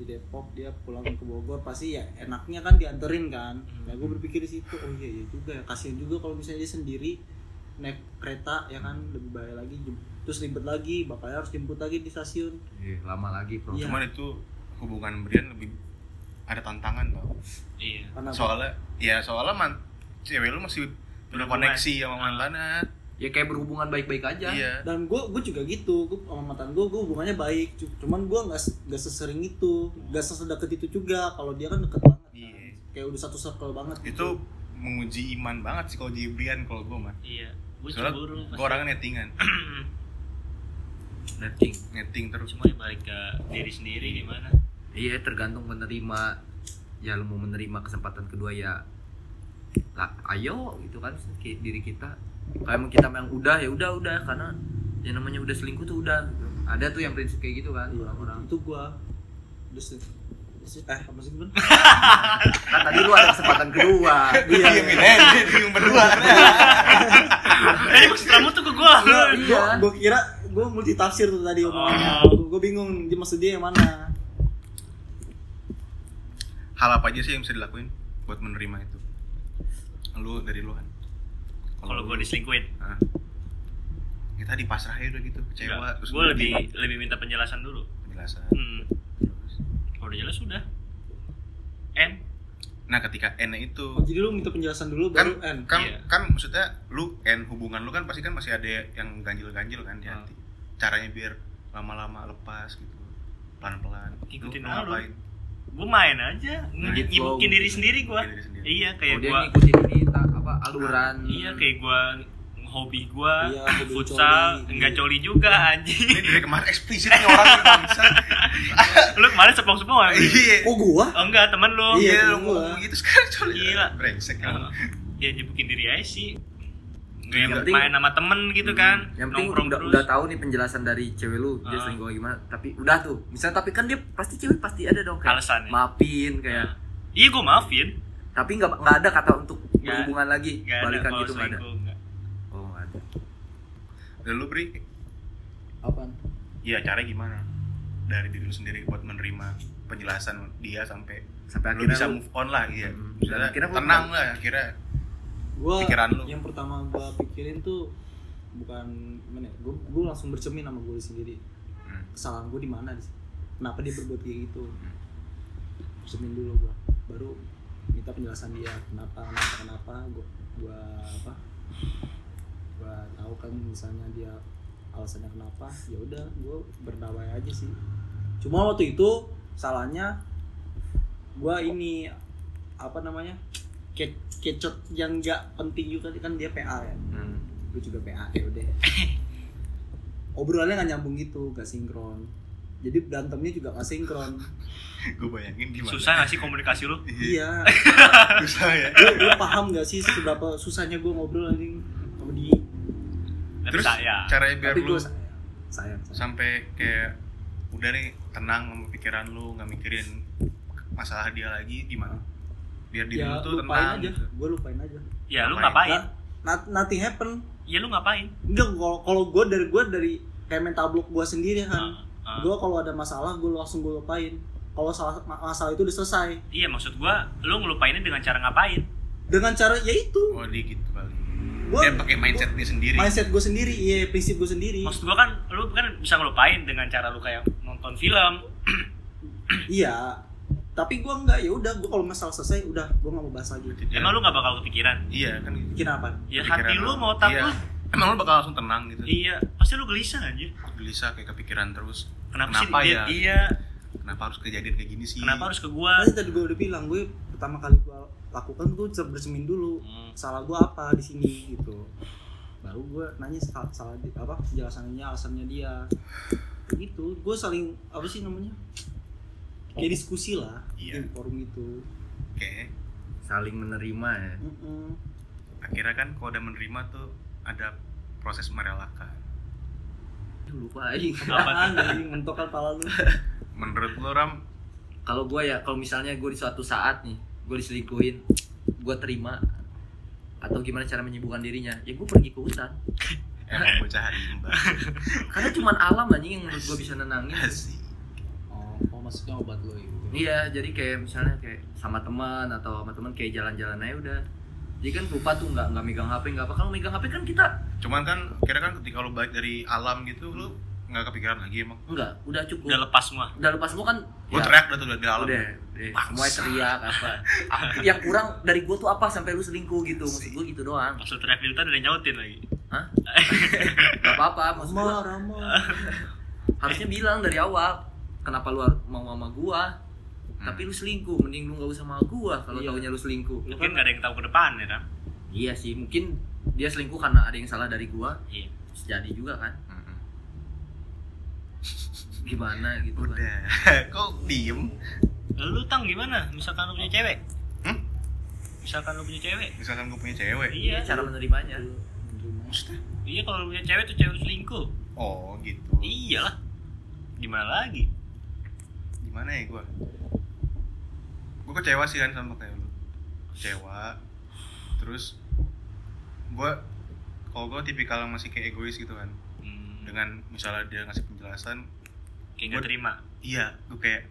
[SPEAKER 1] di Depok dia pulang ke Bogor pasti ya enaknya kan dianterin kan ya
[SPEAKER 3] Hmm.
[SPEAKER 1] gue berpikir di situ oh iya iya juga ya kasihan juga kalau misalnya dia sendiri naik kereta ya kan lebih bahaya lagi jem- terus ribet lagi bapaknya harus jemput lagi di stasiun
[SPEAKER 2] Iya, lama lagi bro
[SPEAKER 1] Iya.
[SPEAKER 4] cuman itu hubungan Brian lebih ada tantangan tau
[SPEAKER 3] Iya.
[SPEAKER 1] karena
[SPEAKER 4] soalnya ya soalnya man cewek lu masih berkoneksi sama mantannya
[SPEAKER 2] ya kayak berhubungan baik-baik aja
[SPEAKER 4] iya
[SPEAKER 1] dan gue gue juga gitu gue sama mantan gue gue hubungannya baik cu- cuman gue nggak se- nggak sesering itu nggak sesedekat itu juga kalau dia kan deket banget kan.
[SPEAKER 4] Iya.
[SPEAKER 1] kayak udah satu circle banget gitu.
[SPEAKER 4] itu menguji iman banget sih kalau di Brian kalau gue mah
[SPEAKER 3] Iya. Gua
[SPEAKER 4] soalnya
[SPEAKER 3] cemburu. pasti.
[SPEAKER 4] gue orangnya nettingan
[SPEAKER 2] Netting.
[SPEAKER 4] netting terus
[SPEAKER 3] Cuma ya balik ke diri sendiri gimana.
[SPEAKER 2] Iya tergantung menerima ya lu mau menerima kesempatan kedua ya lah ayo gitu kan ki- diri kita kalau emang kita yang udah ya udah udah karena yang namanya udah selingkuh tuh udah gitu. ada tuh yang prinsip kayak gitu kan
[SPEAKER 1] Iya,
[SPEAKER 2] orang-orang
[SPEAKER 1] itu gue terus eh apa sih gimana
[SPEAKER 2] kan tadi lu ada kesempatan kedua
[SPEAKER 1] iya
[SPEAKER 4] diemin aja bingung berdua
[SPEAKER 3] Tadi Eh, maksud kamu tuh ke gua.
[SPEAKER 2] Iya.
[SPEAKER 1] gue kira gue multi tafsir tuh tadi omongannya
[SPEAKER 3] Oh.
[SPEAKER 1] gue bingung dia maksud dia yang mana
[SPEAKER 4] hal apa aja sih yang bisa dilakuin buat menerima itu lu dari lu kan
[SPEAKER 3] Kalau gua
[SPEAKER 4] lu-
[SPEAKER 3] diselingkuhin.
[SPEAKER 4] Hah? ya tadi pasrah aja udah gitu kecewa
[SPEAKER 3] Enggak,
[SPEAKER 4] terus
[SPEAKER 3] gue
[SPEAKER 4] lu
[SPEAKER 3] Iya, lebih
[SPEAKER 4] di-
[SPEAKER 3] lebih minta penjelasan dulu.
[SPEAKER 4] penjelasan
[SPEAKER 3] Hmm.
[SPEAKER 4] terus
[SPEAKER 3] Kalau udah jelas sudah. N.
[SPEAKER 4] nah ketika N itu
[SPEAKER 1] Oh, jadi lu minta penjelasan dulu
[SPEAKER 4] kan
[SPEAKER 1] baru n
[SPEAKER 4] kan
[SPEAKER 3] Iya.
[SPEAKER 4] kan maksudnya lu and hubungan lu kan pasti kan masih ada yang ganjil-ganjil kan di
[SPEAKER 3] Hmm.
[SPEAKER 4] hati caranya biar lama-lama lepas gitu pelan-pelan Lu
[SPEAKER 3] Ikutin alur.
[SPEAKER 4] ngapain
[SPEAKER 3] Gue main aja. Nge-
[SPEAKER 2] Ngedit
[SPEAKER 3] Nyibukin
[SPEAKER 2] flow.
[SPEAKER 3] diri sendiri gua.
[SPEAKER 4] Bikin diri sendiri
[SPEAKER 3] Iya
[SPEAKER 2] kalau
[SPEAKER 3] kayak
[SPEAKER 2] Oh, dia
[SPEAKER 3] gua.
[SPEAKER 2] ngikutin ini tak apa aluran
[SPEAKER 3] Iya kayak gua hobi gua
[SPEAKER 1] Iya, hobi
[SPEAKER 3] futsal
[SPEAKER 1] coli.
[SPEAKER 3] enggak coli juga anjing
[SPEAKER 4] ini dari kemarin eksplisit nih orang nih, bangsa
[SPEAKER 3] lu kemarin sepong sepong
[SPEAKER 4] iya
[SPEAKER 1] oh gue
[SPEAKER 3] oh enggak teman lu
[SPEAKER 4] iya
[SPEAKER 1] temen
[SPEAKER 4] lu
[SPEAKER 1] gua.
[SPEAKER 4] ngomong gitu sekarang coba
[SPEAKER 3] Gila.
[SPEAKER 4] brengsek
[SPEAKER 3] Oh,
[SPEAKER 4] kan
[SPEAKER 3] ya nyibukin diri aja sih
[SPEAKER 4] Yang
[SPEAKER 3] Kayak
[SPEAKER 2] penting- Hmm,
[SPEAKER 3] main sama temen gitu kan
[SPEAKER 2] yang penting
[SPEAKER 3] nongkrong
[SPEAKER 2] udah,
[SPEAKER 3] terus.
[SPEAKER 2] udah tahu nih penjelasan dari cewek lu dia
[SPEAKER 3] Ah.
[SPEAKER 2] selingkuh gimana tapi udah tuh misalnya tapi kan dia pasti cewek pasti ada dong kayak
[SPEAKER 3] Alasannya.
[SPEAKER 2] maafin kayak
[SPEAKER 3] iya gue maafin
[SPEAKER 2] tapi nggak nggak ada kata untuk
[SPEAKER 3] Nggak-
[SPEAKER 2] berhubungan lagi
[SPEAKER 3] Gak ada
[SPEAKER 2] balikan
[SPEAKER 3] kalau
[SPEAKER 2] gitu nggak ada
[SPEAKER 3] selingkuh enggak.
[SPEAKER 2] oh nggak ada
[SPEAKER 4] dan lu beri
[SPEAKER 1] apaan
[SPEAKER 4] iya caranya gimana dari diri lu sendiri buat menerima penjelasan dia sampai
[SPEAKER 2] sampai
[SPEAKER 4] lu
[SPEAKER 2] akhirnya
[SPEAKER 4] bisa
[SPEAKER 2] lu-
[SPEAKER 4] move on lah iya
[SPEAKER 2] Hmm.
[SPEAKER 4] misalnya
[SPEAKER 2] Akhirnya move
[SPEAKER 4] tenang
[SPEAKER 2] on.
[SPEAKER 4] lah akhirnya
[SPEAKER 1] gua
[SPEAKER 4] Pikiran lu.
[SPEAKER 1] yang pertama gua pikirin tuh bukan mana ya, gua, gua langsung bercermin sama gua sendiri
[SPEAKER 4] Hmm.
[SPEAKER 1] kesalahan gua di mana di sini? kenapa dia berbuat kayak gitu
[SPEAKER 4] Hmm.
[SPEAKER 1] bercermin dulu gua baru minta penjelasan dia kenapa kenapa kenapa gua gua apa gua tahu kan misalnya dia alasannya kenapa ya udah gue berdamai aja sih cuma waktu itu salahnya gue ini apa namanya ke kecot yang nggak penting juga kan dia PA ya
[SPEAKER 4] Hmm.
[SPEAKER 1] gue juga PA ya udah obrolannya nggak nyambung gitu gak sinkron jadi berantemnya juga gak sinkron
[SPEAKER 4] Gue bayangin gimana.
[SPEAKER 3] susah nggak sih komunikasi lu
[SPEAKER 1] iya
[SPEAKER 4] Susah ya.
[SPEAKER 1] lu, Iya, lu paham gak sih seberapa susahnya gue ngobrol anjing sama dia
[SPEAKER 3] tapi
[SPEAKER 4] Terus
[SPEAKER 3] saya
[SPEAKER 4] caranya biar
[SPEAKER 1] tapi
[SPEAKER 4] lu
[SPEAKER 1] gue sayang sayang, sayang.
[SPEAKER 4] sampai kayak udah nih tenang sama pikiran lu nggak mikirin masalah dia lagi gimana? Biar diri lu
[SPEAKER 1] ya
[SPEAKER 4] tuh
[SPEAKER 1] lupain
[SPEAKER 4] tenang.
[SPEAKER 1] aja
[SPEAKER 4] gitu.
[SPEAKER 1] gue lupain aja
[SPEAKER 3] ya lu
[SPEAKER 4] Ngapain?
[SPEAKER 3] ngapain
[SPEAKER 1] Nah, not- nothing happen
[SPEAKER 3] ya lu ngapain
[SPEAKER 1] enggak kalau kalau gue dari gue dari kayak mental block gue sendiri kan
[SPEAKER 3] Ah, ah.
[SPEAKER 1] gue kalau ada masalah gue langsung gue lupain kalau salah ma- masalah itu udah selesai
[SPEAKER 3] iya maksud gua lu ngelupainnya dengan cara ngapain
[SPEAKER 1] dengan cara ya itu
[SPEAKER 4] Oh dia gitu kali.
[SPEAKER 1] gue
[SPEAKER 4] Dia pakai mindset dia sendiri.
[SPEAKER 1] mindset gue sendiri iya prinsip gue sendiri
[SPEAKER 3] maksud gua kan lu kan bisa ngelupain dengan cara lu kayak nonton film
[SPEAKER 1] iya tapi gue enggak ya udah gue kalau masalah selesai udah gue nggak mau bahas lagi
[SPEAKER 4] Berarti dia-
[SPEAKER 2] Iya.
[SPEAKER 3] emang lu nggak bakal kepikiran
[SPEAKER 4] Iya kan gitu.
[SPEAKER 1] bikin apa
[SPEAKER 3] ya
[SPEAKER 4] Kepikiran
[SPEAKER 3] hati lu
[SPEAKER 4] lu.
[SPEAKER 3] mau otak
[SPEAKER 4] Iya.
[SPEAKER 3] lu
[SPEAKER 4] Emang lu bakal langsung tenang gitu.
[SPEAKER 3] iya pasti lu gelisah anjir
[SPEAKER 4] Gelisah kayak kepikiran terus.
[SPEAKER 3] kenapa,
[SPEAKER 4] Kenapa
[SPEAKER 3] sih
[SPEAKER 4] ya?
[SPEAKER 3] dia, iya
[SPEAKER 4] Kenapa harus kejadian kayak gini sih?
[SPEAKER 3] kenapa harus ke gua
[SPEAKER 1] tadi tadi gue udah bilang gue pertama kali gue lakukan gue bersemin dulu
[SPEAKER 4] Hmm.
[SPEAKER 1] salah gue apa di sini gitu baru gue nanya salah, salah di- apa penjelasannya alasannya dia gitu gue saling apa sih namanya kayak diskusi lah
[SPEAKER 4] Iya.
[SPEAKER 1] di forum itu
[SPEAKER 4] Kayak
[SPEAKER 2] saling menerima ya
[SPEAKER 1] Mm-mm.
[SPEAKER 4] akhirnya kan kalau udah menerima tuh ada proses merelakan
[SPEAKER 2] Aduh, lupa aja
[SPEAKER 1] apaan anjing mentok kan pala lu
[SPEAKER 4] menurut lo ram
[SPEAKER 2] kalau gue ya kalau misalnya gue di suatu saat nih gue diselingkuhin gue terima atau gimana cara menyembuhkan dirinya ya gue pergi ke hutan
[SPEAKER 4] emang bocah rimba
[SPEAKER 2] karena cuman alam anjing yang menurut gue bisa nenangin
[SPEAKER 4] sih
[SPEAKER 1] oh, oh maksudnya obat lo gitu
[SPEAKER 2] iya jadi kayak misalnya kayak sama teman atau sama teman kayak jalan-jalan aja udah jadi kan lupa tuh nggak nggak megang hp nggak apa kalau megang hp kan kita
[SPEAKER 4] cuman kan kira kan ketika lo balik dari alam gitu lo nggak kepikiran lagi emang
[SPEAKER 2] nggak udah cukup
[SPEAKER 3] udah lepas semua
[SPEAKER 2] udah lepas semua kan
[SPEAKER 4] lo teriak dah tuh dari alam
[SPEAKER 2] udah deh, semua teriak apa Ah, yang kurang dari gue tuh apa sampai lu selingkuh gitu maksud gue gitu doang
[SPEAKER 3] pas lu teriak di hutan udah nyautin lagi
[SPEAKER 2] Hah? Gak apa-apa, maksud gua
[SPEAKER 1] Rama, Rama.
[SPEAKER 2] harusnya bilang dari awal kenapa lu mau sama gua
[SPEAKER 4] Hmm.
[SPEAKER 2] tapi lu selingkuh mending lu nggak usah sama gua kalau
[SPEAKER 1] Iya.
[SPEAKER 2] taunya lu selingkuh Kan?
[SPEAKER 3] mungkin gak ada yang tahu ke depan ya Ram
[SPEAKER 2] iya sih mungkin dia selingkuh karena ada yang salah dari gua
[SPEAKER 3] iya
[SPEAKER 2] Bisa jadi juga kan
[SPEAKER 4] Mm-mm.
[SPEAKER 2] gimana gitu kan
[SPEAKER 4] udah kok diem
[SPEAKER 3] lu tang gimana misalkan lu punya cewek
[SPEAKER 4] Hmm? Eh,
[SPEAKER 3] misalkan lu punya cewek
[SPEAKER 4] misalkan gue punya cewek
[SPEAKER 3] iya
[SPEAKER 2] cara menerimanya
[SPEAKER 4] maksudnya
[SPEAKER 3] iya kalau lu punya cewek tuh cewek lu selingkuh
[SPEAKER 4] oh gitu
[SPEAKER 3] iyalah gimana lagi
[SPEAKER 4] gimana ya gue gue kecewa sih kan sama kayak lu kecewa terus gue kalau gue tipikal yang masih kayak egois gitu kan
[SPEAKER 3] hmm,
[SPEAKER 4] dengan misalnya dia ngasih penjelasan
[SPEAKER 3] kayak gak terima
[SPEAKER 4] iya gue kayak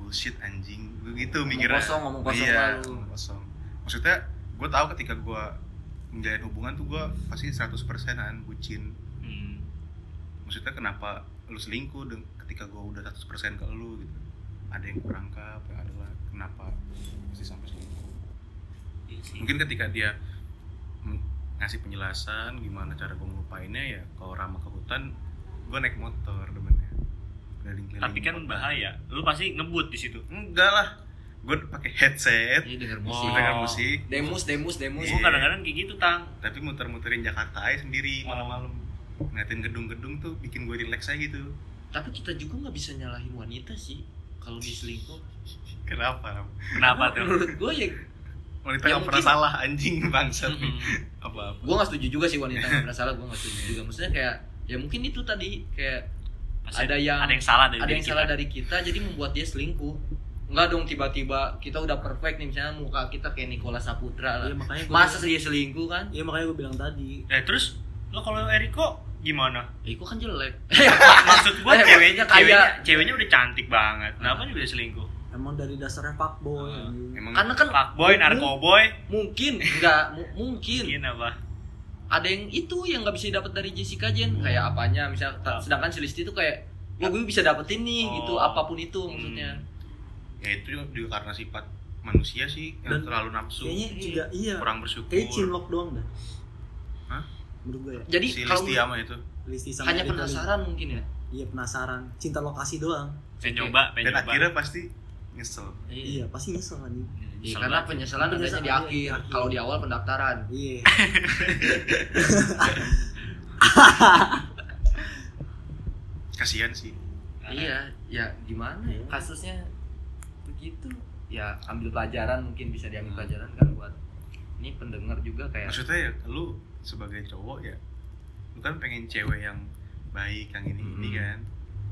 [SPEAKER 4] bullshit anjing gue gitu
[SPEAKER 2] Ngomong
[SPEAKER 4] mikirnya
[SPEAKER 2] kosong, ngomong kosong
[SPEAKER 4] iya,
[SPEAKER 2] lah lu.
[SPEAKER 4] ngomong kosong maksudnya gue tahu ketika gue menjalin hubungan tuh gue pasti 100 persenan bucin
[SPEAKER 3] hmm.
[SPEAKER 4] maksudnya kenapa lu selingkuh deng- ketika gue udah 100 persen ke lu gitu ada yang kurang kap yang adalah kenapa mesti sampai selingkuh
[SPEAKER 3] iya sih.
[SPEAKER 4] mungkin ketika dia mm, ngasih penjelasan gimana cara gue ngelupainnya ya kalau ramah ke hutan gue naik motor demennya Keliling-keliling
[SPEAKER 3] tapi kan
[SPEAKER 4] kota.
[SPEAKER 3] bahaya lu pasti ngebut di situ
[SPEAKER 4] enggak lah gue pakai headset
[SPEAKER 2] ini denger
[SPEAKER 3] Wow.
[SPEAKER 2] musik
[SPEAKER 4] gue Iya. denger musik
[SPEAKER 2] demus demus demus
[SPEAKER 4] Iya.
[SPEAKER 3] gua kadang-kadang kayak gitu tang
[SPEAKER 4] tapi muter-muterin Jakarta aja sendiri
[SPEAKER 3] Oh.
[SPEAKER 4] malam-malam ngeliatin gedung-gedung tuh bikin gue relax aja gitu
[SPEAKER 2] tapi kita juga nggak bisa nyalahin wanita sih kalau diselingkuh
[SPEAKER 4] kenapa Ram?
[SPEAKER 3] kenapa
[SPEAKER 4] Iya.
[SPEAKER 3] tuh
[SPEAKER 2] menurut gua ya
[SPEAKER 4] wanita
[SPEAKER 2] Ya
[SPEAKER 4] nggak pernah
[SPEAKER 2] mungkin-
[SPEAKER 4] salah anjing bangsat nih apa-apa
[SPEAKER 2] gua nggak setuju juga sih wanita nggak pernah salah gua nggak setuju juga maksudnya kayak ya mungkin itu tadi kayak
[SPEAKER 3] Pasti
[SPEAKER 2] Ada yang-
[SPEAKER 3] ada yang salah dari
[SPEAKER 2] ada
[SPEAKER 3] diri
[SPEAKER 2] yang
[SPEAKER 4] gitu
[SPEAKER 2] salah
[SPEAKER 4] kan.
[SPEAKER 3] kita.
[SPEAKER 2] dari kita jadi membuat dia selingkuh nggak dong tiba-tiba kita udah perfect nih misalnya muka kita kayak Nicola Saputra lah
[SPEAKER 1] Iya, makanya gua-
[SPEAKER 2] masa dia selingkuh kan
[SPEAKER 1] iya makanya gue bilang tadi
[SPEAKER 3] eh terus lo kalau Eriko gimana
[SPEAKER 2] eh kok kan jelek
[SPEAKER 3] maksud gua
[SPEAKER 2] Eh,
[SPEAKER 3] ceweknya
[SPEAKER 2] ceweknya
[SPEAKER 3] ceweknya
[SPEAKER 2] kaya.
[SPEAKER 3] ceweknya udah cantik banget kenapa juga selingkuh
[SPEAKER 1] emang dari dasarnya fuckboy anjing.
[SPEAKER 4] Ah, emang
[SPEAKER 2] karena kan
[SPEAKER 3] fuckboy
[SPEAKER 2] mu-
[SPEAKER 3] narkoboy
[SPEAKER 2] mungkin nggak mu- mungkin
[SPEAKER 3] mungkin apa
[SPEAKER 2] ada yang itu yang nggak bisa dapat dari Jessica Jen kayak apanya misal ta- sedangkan Celesti itu kayak lo gue bisa dapetin nih
[SPEAKER 3] Oh.
[SPEAKER 2] gitu apapun itu maksudnya
[SPEAKER 3] Hmm.
[SPEAKER 4] ya itu juga karena sifat manusia sih yang
[SPEAKER 1] Dan-
[SPEAKER 4] terlalu nafsu
[SPEAKER 1] kayaknya juga iya
[SPEAKER 4] kurang bersyukur
[SPEAKER 1] kayak cinlok doang dah
[SPEAKER 4] Hah?
[SPEAKER 1] menurut gue ya
[SPEAKER 2] Jadi
[SPEAKER 4] si
[SPEAKER 2] kalau
[SPEAKER 4] Listi sama itu
[SPEAKER 1] listi sama
[SPEAKER 2] hanya
[SPEAKER 1] Erik kali.
[SPEAKER 2] penasaran mungkin ya.
[SPEAKER 1] iya penasaran cinta lokasi doang
[SPEAKER 3] pengen nyoba pengen
[SPEAKER 4] dan
[SPEAKER 3] nyoba
[SPEAKER 4] akhirnya pasti nyesel
[SPEAKER 1] iya pasti nyesel anjing
[SPEAKER 2] Iya,
[SPEAKER 3] Nyesel
[SPEAKER 2] karena
[SPEAKER 3] banget.
[SPEAKER 2] penyesalan adanya
[SPEAKER 1] Penyesalan,
[SPEAKER 2] di
[SPEAKER 1] iya,
[SPEAKER 2] akhir.
[SPEAKER 1] di akhir.
[SPEAKER 2] Kalau di awal pendaftaran.
[SPEAKER 1] iya
[SPEAKER 4] kasihan sih
[SPEAKER 2] Iya, ya gimana ya?
[SPEAKER 1] Iya.
[SPEAKER 2] Kasusnya begitu. Ya ambil pelajaran mungkin bisa diambil pelajaran kan buat ini pendengar juga kayak
[SPEAKER 4] maksudnya ya lu sebagai cowok ya lu kan pengen cewek yang baik yang ini ini
[SPEAKER 2] Mhm.
[SPEAKER 4] kan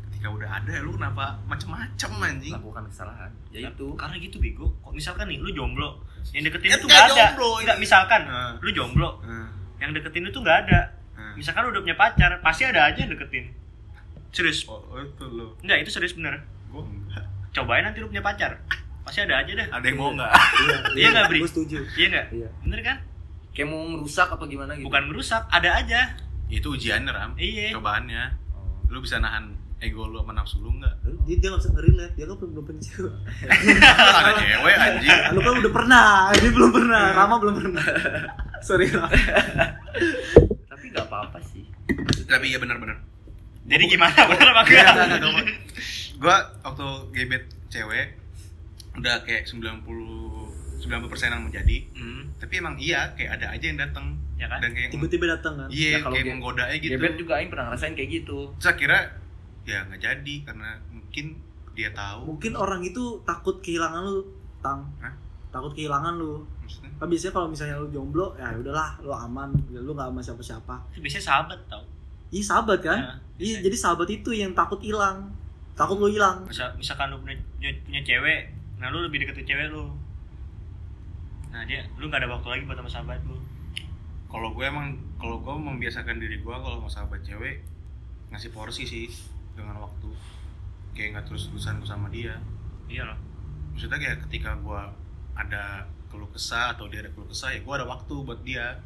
[SPEAKER 4] ketika udah ada lu kenapa macem-macem anjing
[SPEAKER 2] melakukan kesalahan. Ya itu.
[SPEAKER 3] karena gitu bego kok misalkan nih lu jomblo yang deketin
[SPEAKER 4] Ya,
[SPEAKER 3] itu
[SPEAKER 4] nggak
[SPEAKER 3] nggak ada
[SPEAKER 4] jomblo ini.
[SPEAKER 3] nggak misalkan
[SPEAKER 4] Nah,
[SPEAKER 3] lu jomblo
[SPEAKER 4] nah,
[SPEAKER 3] yang deketin itu nggak ada
[SPEAKER 4] nah.
[SPEAKER 3] misalkan lu udah punya pacar pasti ada aja yang deketin serius
[SPEAKER 4] Oh, oh, itu lu
[SPEAKER 3] enggak itu serius bener
[SPEAKER 4] gua enggak
[SPEAKER 3] cobain nanti lu punya pacar pasti ada aja deh
[SPEAKER 4] ada yang mau nggak
[SPEAKER 1] iya
[SPEAKER 3] Iya nggak, Bri?
[SPEAKER 1] gue setuju
[SPEAKER 3] iya nggak
[SPEAKER 1] iya
[SPEAKER 3] bener kan
[SPEAKER 2] Kayak mau merusak apa gimana gitu.
[SPEAKER 3] bukan merusak ada aja
[SPEAKER 4] itu ujiannya ram
[SPEAKER 3] iya
[SPEAKER 4] cobaannya
[SPEAKER 2] Oh.
[SPEAKER 4] lu bisa nahan ego lu sama nafsu lu nggak
[SPEAKER 1] dia dia nggak bisa relate dia kan belum belum punya cewek.
[SPEAKER 4] ada kan cewek anjing
[SPEAKER 1] Ah, lu kan udah pernah dia belum pernah
[SPEAKER 4] Iya.
[SPEAKER 1] Rama belum pernah sorry Rama
[SPEAKER 2] Tapi nggak apa-apa sih.
[SPEAKER 4] tapi iya benar-benar
[SPEAKER 3] jadi gimana bener apa
[SPEAKER 4] Iya,
[SPEAKER 3] enggak
[SPEAKER 4] gue waktu gebet cewek udah kayak 90 90 persenan menjadi
[SPEAKER 3] Hmm,
[SPEAKER 4] tapi emang iya kayak ada aja yang datang
[SPEAKER 3] ya kan
[SPEAKER 4] dan kayak
[SPEAKER 1] tiba-tiba datang kan
[SPEAKER 4] iya
[SPEAKER 2] Ya, kalau
[SPEAKER 4] kayak
[SPEAKER 2] ge-
[SPEAKER 4] menggoda aja gitu
[SPEAKER 2] Gebet juga aing pernah ngerasain kayak gitu.
[SPEAKER 4] terus akhirnya ya nggak jadi karena mungkin dia tahu
[SPEAKER 1] mungkin orang itu takut kehilangan lu tang
[SPEAKER 4] Hah?
[SPEAKER 1] takut kehilangan lu
[SPEAKER 4] maksudnya
[SPEAKER 1] kan biasanya kalau misalnya lu jomblo ya udahlah lu aman lu nggak sama siapa-siapa
[SPEAKER 3] Itu biasanya sahabat tau
[SPEAKER 1] iya sahabat kan
[SPEAKER 3] Nah,
[SPEAKER 1] iya
[SPEAKER 3] biasanya.
[SPEAKER 1] jadi sahabat itu yang takut hilang takut lu hilang
[SPEAKER 3] Misal, misalkan lu punya, punya, punya cewek nah lu lebih deket ke cewek lu nah dia lu nggak ada waktu lagi buat sama sahabat lu
[SPEAKER 4] kalau gue emang kalau gue membiasakan diri gue kalau mau sahabat cewek ngasih porsi sih dengan waktu kayak nggak terus terusan gue sama dia
[SPEAKER 3] iya loh
[SPEAKER 4] maksudnya kayak ketika gue ada keluh kesah atau dia ada keluh kesah ya gue ada waktu buat dia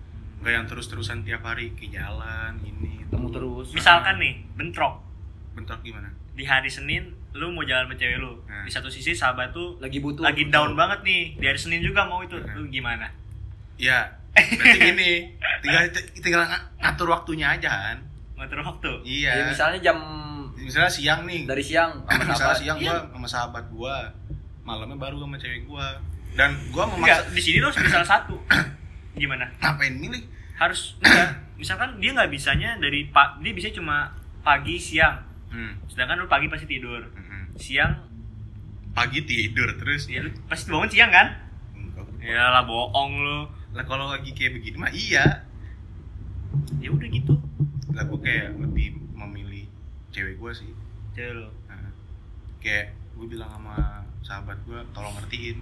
[SPEAKER 4] nggak yang terus terusan tiap hari ke jalan ini itu.
[SPEAKER 2] Temu terus.
[SPEAKER 3] misalkan nih bentrok
[SPEAKER 4] bentrok gimana
[SPEAKER 3] di hari Senin lu mau jalan sama cewek lu
[SPEAKER 4] Hmm.
[SPEAKER 3] di satu sisi sahabat tuh
[SPEAKER 2] lagi butuh
[SPEAKER 3] lagi down banget nih di hari Senin juga mau itu lu gimana
[SPEAKER 4] ya berarti gini tinggal tinggal ng- ngatur waktunya aja kan
[SPEAKER 3] ngatur waktu
[SPEAKER 4] iya
[SPEAKER 2] Ya, misalnya jam
[SPEAKER 4] misalnya siang nih
[SPEAKER 2] dari siang sama
[SPEAKER 4] misalnya
[SPEAKER 2] sahabat.
[SPEAKER 4] siang gue sama sahabat gue malamnya baru sama cewek gue dan
[SPEAKER 2] Iya.
[SPEAKER 4] gue memaksa
[SPEAKER 3] enggak di sini lu harus bisa satu gimana
[SPEAKER 4] ngapain milih
[SPEAKER 3] harus enggak misalkan dia nggak bisanya dari pak dia bisa cuma pagi siang
[SPEAKER 4] Hmm,
[SPEAKER 3] sedangkan lu pagi pasti tidur
[SPEAKER 4] hmm, hmm.
[SPEAKER 3] siang
[SPEAKER 4] pagi tidur terus
[SPEAKER 2] Iya.
[SPEAKER 3] ya lu pasti bangun siang kan
[SPEAKER 4] Enggak.
[SPEAKER 3] iyalah bohong lu
[SPEAKER 4] lah kalau lagi kayak begini mah iya
[SPEAKER 3] ya udah gitu
[SPEAKER 4] lah gue kayak lebih memilih cewek gue sih
[SPEAKER 3] cewek lu
[SPEAKER 4] Nah, kayak gue bilang sama sahabat gue tolong ngertiin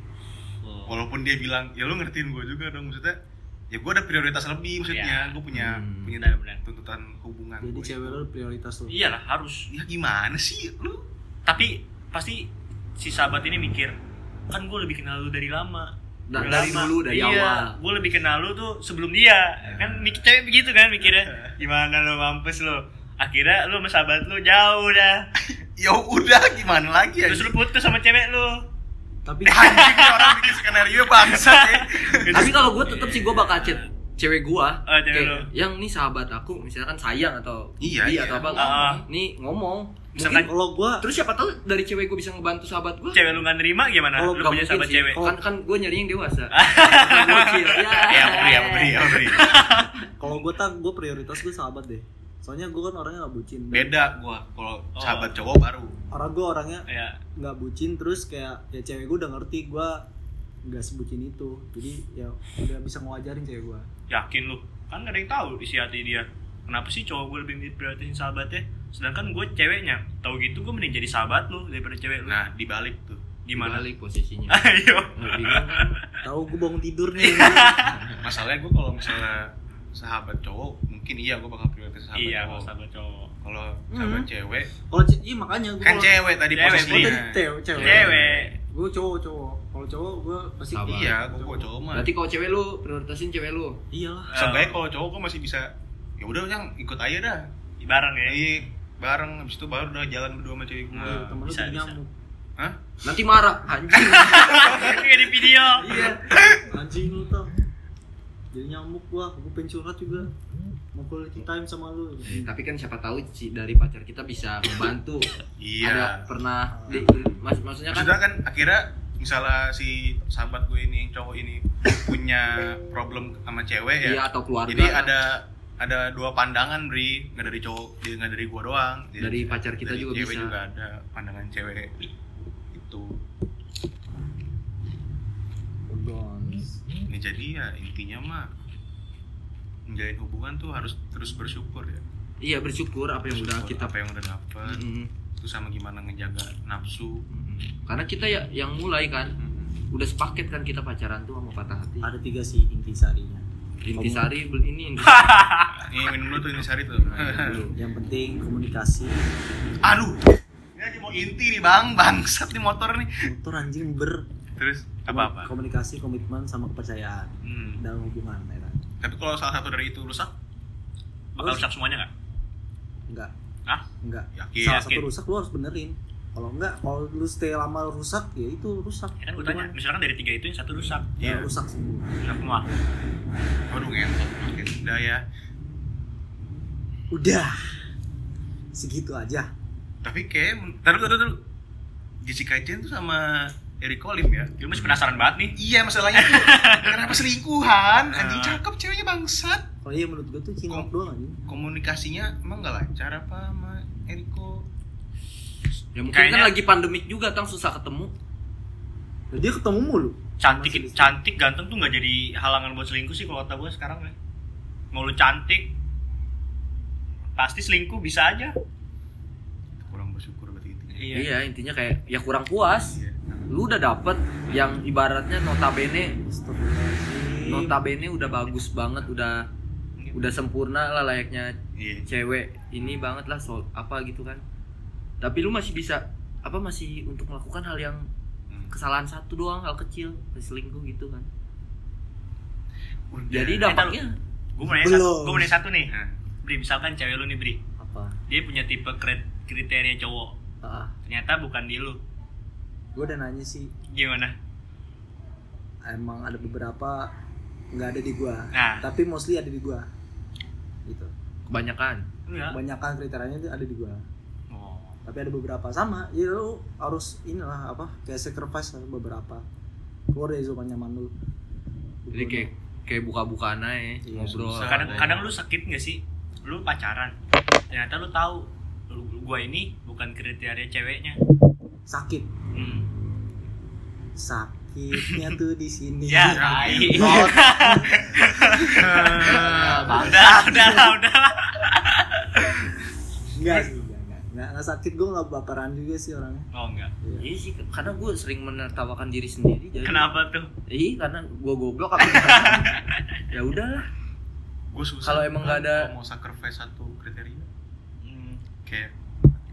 [SPEAKER 4] walaupun dia bilang ya lu ngertiin gue juga dong maksudnya ya gue ada prioritas lebih maksudnya gue punya
[SPEAKER 2] Hmm.
[SPEAKER 4] punya
[SPEAKER 3] Benar-benar.
[SPEAKER 4] tuntutan hubungan
[SPEAKER 1] jadi
[SPEAKER 4] gua
[SPEAKER 1] cewek
[SPEAKER 4] itu.
[SPEAKER 1] lu prioritas lu
[SPEAKER 3] iyalah Iya harus
[SPEAKER 4] ya gimana sih lu
[SPEAKER 3] tapi pasti si sahabat ini mikir kan gue lebih kenal lu dari lama
[SPEAKER 2] Da- Nah, dari dulu dari awal. Ya.
[SPEAKER 3] gue lebih kenal lu tuh sebelum dia kan mikir cewek begitu kan mikirnya gimana lu mampus lu akhirnya lu sama sahabat lu jauh dah
[SPEAKER 4] ya udah gimana lagi ya
[SPEAKER 2] Iya.
[SPEAKER 3] terus lu putus sama cewek lu
[SPEAKER 1] tapi
[SPEAKER 4] anjing nih orang bikin skenario bangsa ya
[SPEAKER 2] tapi kalau gue tetap sih gue bakal chat cewek gue
[SPEAKER 3] Oh, cewek lu.
[SPEAKER 2] yang nih sahabat aku misalkan sayang atau
[SPEAKER 4] Iya,
[SPEAKER 2] dia
[SPEAKER 4] iya.
[SPEAKER 2] atau apa
[SPEAKER 3] Ah.
[SPEAKER 2] nih ngomong
[SPEAKER 1] mungkin
[SPEAKER 3] misalkan-
[SPEAKER 1] kalau gua
[SPEAKER 2] terus siapa tahu dari cewek gue bisa ngebantu sahabat gue
[SPEAKER 3] cewek lu gak nerima gimana?
[SPEAKER 1] Kalau
[SPEAKER 3] lu
[SPEAKER 2] Oh, nggak
[SPEAKER 3] punya
[SPEAKER 2] mungkin
[SPEAKER 3] sahabat
[SPEAKER 2] sih.
[SPEAKER 3] cewek.
[SPEAKER 2] kan kan gue nyari yang dewasa Bukan bocil. ya
[SPEAKER 4] ya beri ya beri ya beri
[SPEAKER 1] kalau gua tang gua prioritas gua sahabat deh soalnya gua kan orangnya nggak bucin
[SPEAKER 4] beda gue kalau
[SPEAKER 3] Oh.
[SPEAKER 4] sahabat cowok baru
[SPEAKER 1] orang gua orangnya
[SPEAKER 3] Ya,
[SPEAKER 1] nggak bucin terus kayak ya cewek gua udah ngerti gua nggak sebucin itu jadi ya udah bisa ngajarin cewek gua
[SPEAKER 3] yakin lu. Kan gak ada yang tahu isi hati dia. Kenapa sih cowok gue lebih diprioritasin sahabatnya? Sedangkan gue ceweknya. Tahu gitu gue mending jadi sahabat lu daripada cewek lu.
[SPEAKER 4] nah dibalik tuh
[SPEAKER 3] gimana?
[SPEAKER 2] balik posisinya
[SPEAKER 3] Ayo.
[SPEAKER 2] Nggak bingung kan?
[SPEAKER 1] tahu gua bangun tidur nih
[SPEAKER 4] masalahnya gue kalau misalnya sahabat cowok mungkin iya gue bakal prioritas sahabat
[SPEAKER 3] iya, kalau
[SPEAKER 4] cowok
[SPEAKER 3] sahabat cowok.
[SPEAKER 4] kalau
[SPEAKER 2] Hmm.
[SPEAKER 4] sahabat cewek
[SPEAKER 1] kalau ce- iya makanya gua
[SPEAKER 4] kan
[SPEAKER 1] kalau-
[SPEAKER 4] cewek tadi
[SPEAKER 3] Cewek,
[SPEAKER 1] gua
[SPEAKER 4] posisinya
[SPEAKER 1] tadi cewek cewek
[SPEAKER 3] Cewek.
[SPEAKER 4] Eh,
[SPEAKER 1] gue cowok cowok kalau cowok gue pasti
[SPEAKER 2] Sabar.
[SPEAKER 4] iya gue gue cowok mah
[SPEAKER 2] berarti kalau cewek lu prioritasin cewek lu
[SPEAKER 1] iyalah
[SPEAKER 4] seenggaknya kalau cowok gue masih bisa ya udah yang ikut aja dah
[SPEAKER 3] Eh, bareng ya.
[SPEAKER 4] iya bareng abis itu baru udah jalan berdua sama cewek gue
[SPEAKER 1] Iya, temen lu
[SPEAKER 3] bisa,
[SPEAKER 1] jadi
[SPEAKER 3] bisa.
[SPEAKER 1] nyamuk
[SPEAKER 4] hah
[SPEAKER 2] nanti marah anjing
[SPEAKER 3] Kayak di video.
[SPEAKER 1] anjing lu tau jadi nyamuk gua gua pengen curhat juga mau quality time sama lu
[SPEAKER 2] Tapi kan siapa tahu si dari pacar kita bisa membantu. Ada
[SPEAKER 4] iya
[SPEAKER 2] pernah di, mak- maksudnya kan
[SPEAKER 4] maksudnya kan akhirnya misalnya si sahabat gue ini yang cowok ini punya problem sama cewek ya
[SPEAKER 2] dia atau keluarga.
[SPEAKER 4] jadi ada ada dua pandangan bri nggak dari cowok dia nggak dari gua doang Jadi
[SPEAKER 2] Dari pacar kita
[SPEAKER 4] dari
[SPEAKER 2] juga
[SPEAKER 4] cewek
[SPEAKER 2] bisa.
[SPEAKER 4] juga ada pandangan cewek itu ini jadi ya intinya mah menjalin hubungan tuh harus terus bersyukur ya
[SPEAKER 2] Iya bersyukur apa yang udah
[SPEAKER 4] Bersyukur
[SPEAKER 2] kita Hmm.
[SPEAKER 4] apa yang udah dapet
[SPEAKER 2] Mm-mm.
[SPEAKER 4] itu sama gimana ngejaga nafsu
[SPEAKER 2] Mm-mm. Karena kita ya yang mulai kan udah sepaket kan kita pacaran tuh sama patah hati.
[SPEAKER 1] ada tiga sih inti sarinya
[SPEAKER 2] Intisari beli ini intisari
[SPEAKER 4] ini minum dulu tuh ini sari tuh
[SPEAKER 2] dulu.
[SPEAKER 1] yang penting komunikasi
[SPEAKER 4] aduh ini lagi mau inti nih bang bangsat nih motor nih
[SPEAKER 1] motor anjing ber
[SPEAKER 4] terus apa apa
[SPEAKER 1] komunikasi komitmen sama kepercayaan
[SPEAKER 4] hmm.
[SPEAKER 1] dalam hubungan ya kan?
[SPEAKER 4] tapi kalau salah satu dari itu rusak
[SPEAKER 3] bakal rusak semuanya nggak
[SPEAKER 1] enggak
[SPEAKER 3] Hah?
[SPEAKER 1] enggak
[SPEAKER 4] yakin
[SPEAKER 1] salah
[SPEAKER 3] yakin.
[SPEAKER 1] satu rusak lu harus benerin kalau enggak kalau lu stay lama rusak ya itu rusak
[SPEAKER 3] ya kan gue tanya
[SPEAKER 1] Hubungan.
[SPEAKER 3] misalkan dari tiga itu yang satu rusak
[SPEAKER 1] ya,
[SPEAKER 4] Iya.
[SPEAKER 1] rusak semua
[SPEAKER 3] rusak semua
[SPEAKER 4] Waduh ngentot makin udah ya.
[SPEAKER 1] udah segitu aja
[SPEAKER 4] Tapi kayak taruh taruh taruh. Jessica Jen tuh sama Eric Colim ya.
[SPEAKER 3] lu masih penasaran banget nih
[SPEAKER 4] Iya masalahnya tuh kenapa selingkuhan? Anjing cakep ceweknya bangsat.
[SPEAKER 1] kalau iya menurut gua tuh cinlok
[SPEAKER 4] Kom-
[SPEAKER 1] doang anjing
[SPEAKER 4] Komunikasinya emang nggak lancar apa sama Eriko?
[SPEAKER 2] Ya mungkin
[SPEAKER 3] Kayaknya-
[SPEAKER 2] kan lagi pandemik juga tang susah ketemu.
[SPEAKER 1] Nah, dia ketemu mulu
[SPEAKER 3] cantik
[SPEAKER 1] Masih di-
[SPEAKER 3] cantik ganteng tuh nggak jadi halangan buat selingkuh sih kalau kata gue sekarang ya mau lu cantik pasti selingkuh bisa aja
[SPEAKER 4] Kurang bersyukur berarti gitu ya. itu.
[SPEAKER 2] Iya intinya kayak ya kurang puas.
[SPEAKER 4] Iya.
[SPEAKER 2] Lu udah dapet yang ibaratnya notabene
[SPEAKER 4] Iya.
[SPEAKER 1] Astagfirullahaladzim.
[SPEAKER 2] notabene udah bagus banget udah udah sempurna lah layaknya
[SPEAKER 4] Iya.
[SPEAKER 2] cewek ini banget lah soal apa gitu kan tapi lu masih bisa apa masih untuk melakukan hal yang
[SPEAKER 4] Hmm.
[SPEAKER 2] kesalahan satu doang hal kecil selingkuh gitu kan
[SPEAKER 4] Udah.
[SPEAKER 2] jadi
[SPEAKER 3] Kita-
[SPEAKER 2] dampaknya
[SPEAKER 3] gue mau nanya satu
[SPEAKER 1] Belum.
[SPEAKER 3] gue mau nanya satu nih
[SPEAKER 4] Nah,
[SPEAKER 3] Bri misalkan cewek lu nih Bri
[SPEAKER 1] apa
[SPEAKER 3] dia punya tipe kri- kriteria cowok
[SPEAKER 1] ah
[SPEAKER 3] ternyata bukan di lu
[SPEAKER 1] gua udah nanya sih
[SPEAKER 3] gimana
[SPEAKER 1] emang ada beberapa nggak ada di gua
[SPEAKER 3] nah
[SPEAKER 1] tapi mostly ada di gua gitu
[SPEAKER 2] kebanyakan
[SPEAKER 3] enggak
[SPEAKER 1] kebanyakan kriterianya itu ada di gua
[SPEAKER 3] oh.
[SPEAKER 1] tapi ada beberapa sama ya lu harus inilah apa kayak sacrifice lah beberapa keluar dari zona nyaman lu
[SPEAKER 2] jadi kayak kayak buka-bukaan aja
[SPEAKER 1] Iya,
[SPEAKER 2] ngobrol
[SPEAKER 4] susah.
[SPEAKER 3] kadang
[SPEAKER 4] Ada.
[SPEAKER 3] kadang lu sakit nggak sih lu pacaran ternyata lu tahu lu, gua ini bukan kriteria ceweknya
[SPEAKER 1] sakit
[SPEAKER 3] hmm.
[SPEAKER 1] sakitnya tuh di sini
[SPEAKER 3] ya tai.
[SPEAKER 1] Oh,
[SPEAKER 3] Ah, udah udah udah
[SPEAKER 1] enggak sih enggak, enggak enggak enggak sakit gue nggak baperan juga sih orangnya
[SPEAKER 3] oh enggak
[SPEAKER 2] Iya sih, karena gue sering menertawakan diri sendiri. Jadi,
[SPEAKER 3] kenapa tuh
[SPEAKER 2] Iya, karena gue goblok apa Ya udahlah.
[SPEAKER 4] gue susah.
[SPEAKER 2] Kalau emang nggak ada-
[SPEAKER 4] mau sacrifice satu kriteria
[SPEAKER 3] Hmm.
[SPEAKER 4] kayak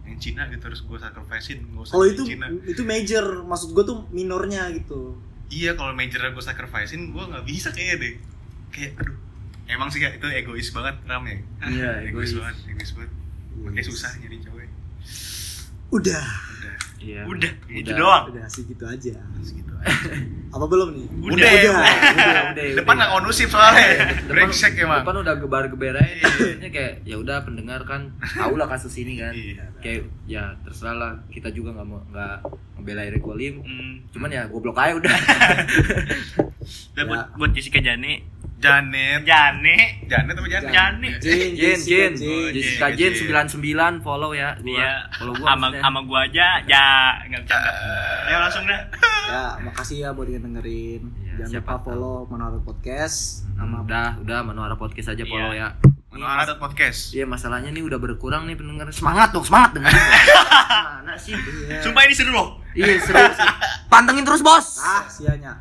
[SPEAKER 4] yang Cina gitu terus gue sacrificein gue usah
[SPEAKER 1] kalau
[SPEAKER 4] yang
[SPEAKER 1] itu
[SPEAKER 4] Cina.
[SPEAKER 1] itu major maksud gue tuh minornya gitu
[SPEAKER 4] iya kalau major gue sacrificein gue nggak bisa kayaknya deh kayak aduh emang sih Kak, itu egois banget ram ya
[SPEAKER 2] Iya,
[SPEAKER 4] egois,
[SPEAKER 2] egois.
[SPEAKER 4] banget egois banget makanya susah nyari cewek
[SPEAKER 1] udah
[SPEAKER 4] udah
[SPEAKER 2] Iya.
[SPEAKER 3] udah gitu
[SPEAKER 2] Udah.
[SPEAKER 3] doang
[SPEAKER 1] udah sih gitu aja
[SPEAKER 4] segitu aja
[SPEAKER 1] apa belum nih
[SPEAKER 3] Udah.
[SPEAKER 1] udah.
[SPEAKER 2] Iya,
[SPEAKER 4] depan nggak kondusif soalnya
[SPEAKER 2] Depan-
[SPEAKER 4] brengsek emang
[SPEAKER 2] depan udah gebar-geber aja Maksudnya kayak ya udah pendengar kan tahu lah kasus ini kan
[SPEAKER 4] iya
[SPEAKER 2] kayak ya terserah lah kita juga nggak mau nggak membela Eric Walim
[SPEAKER 3] Hmm.
[SPEAKER 2] cuman ya goblok aja udah
[SPEAKER 3] Udah buat, buat Jessica Jane
[SPEAKER 4] Janet
[SPEAKER 3] Jane
[SPEAKER 4] Janet apa Janet
[SPEAKER 3] Jane
[SPEAKER 1] Jin,
[SPEAKER 2] Jen Jen
[SPEAKER 1] Jin.
[SPEAKER 2] Jessica Jen 99 follow ya
[SPEAKER 3] Iya.
[SPEAKER 2] gua follow gua
[SPEAKER 3] sama
[SPEAKER 2] maksudnya.
[SPEAKER 3] sama gua aja ya nggak bercanda ya langsung dah
[SPEAKER 1] ya makasih ya buat yang dengerin
[SPEAKER 2] Iya,
[SPEAKER 1] jangan lupa
[SPEAKER 2] siapa tahu. Hmm.
[SPEAKER 1] follow Manado Podcast sama
[SPEAKER 2] udah udah Manuara podcast aja follow ya
[SPEAKER 4] Manual Adat podcast
[SPEAKER 2] Iya masalahnya nih udah berkurang nih pendengar semangat dong semangat dengerin gua. mana sih
[SPEAKER 1] Iya.
[SPEAKER 3] sumpah ini seru loh
[SPEAKER 2] iya seru sih. pantengin terus bos
[SPEAKER 1] ah sianya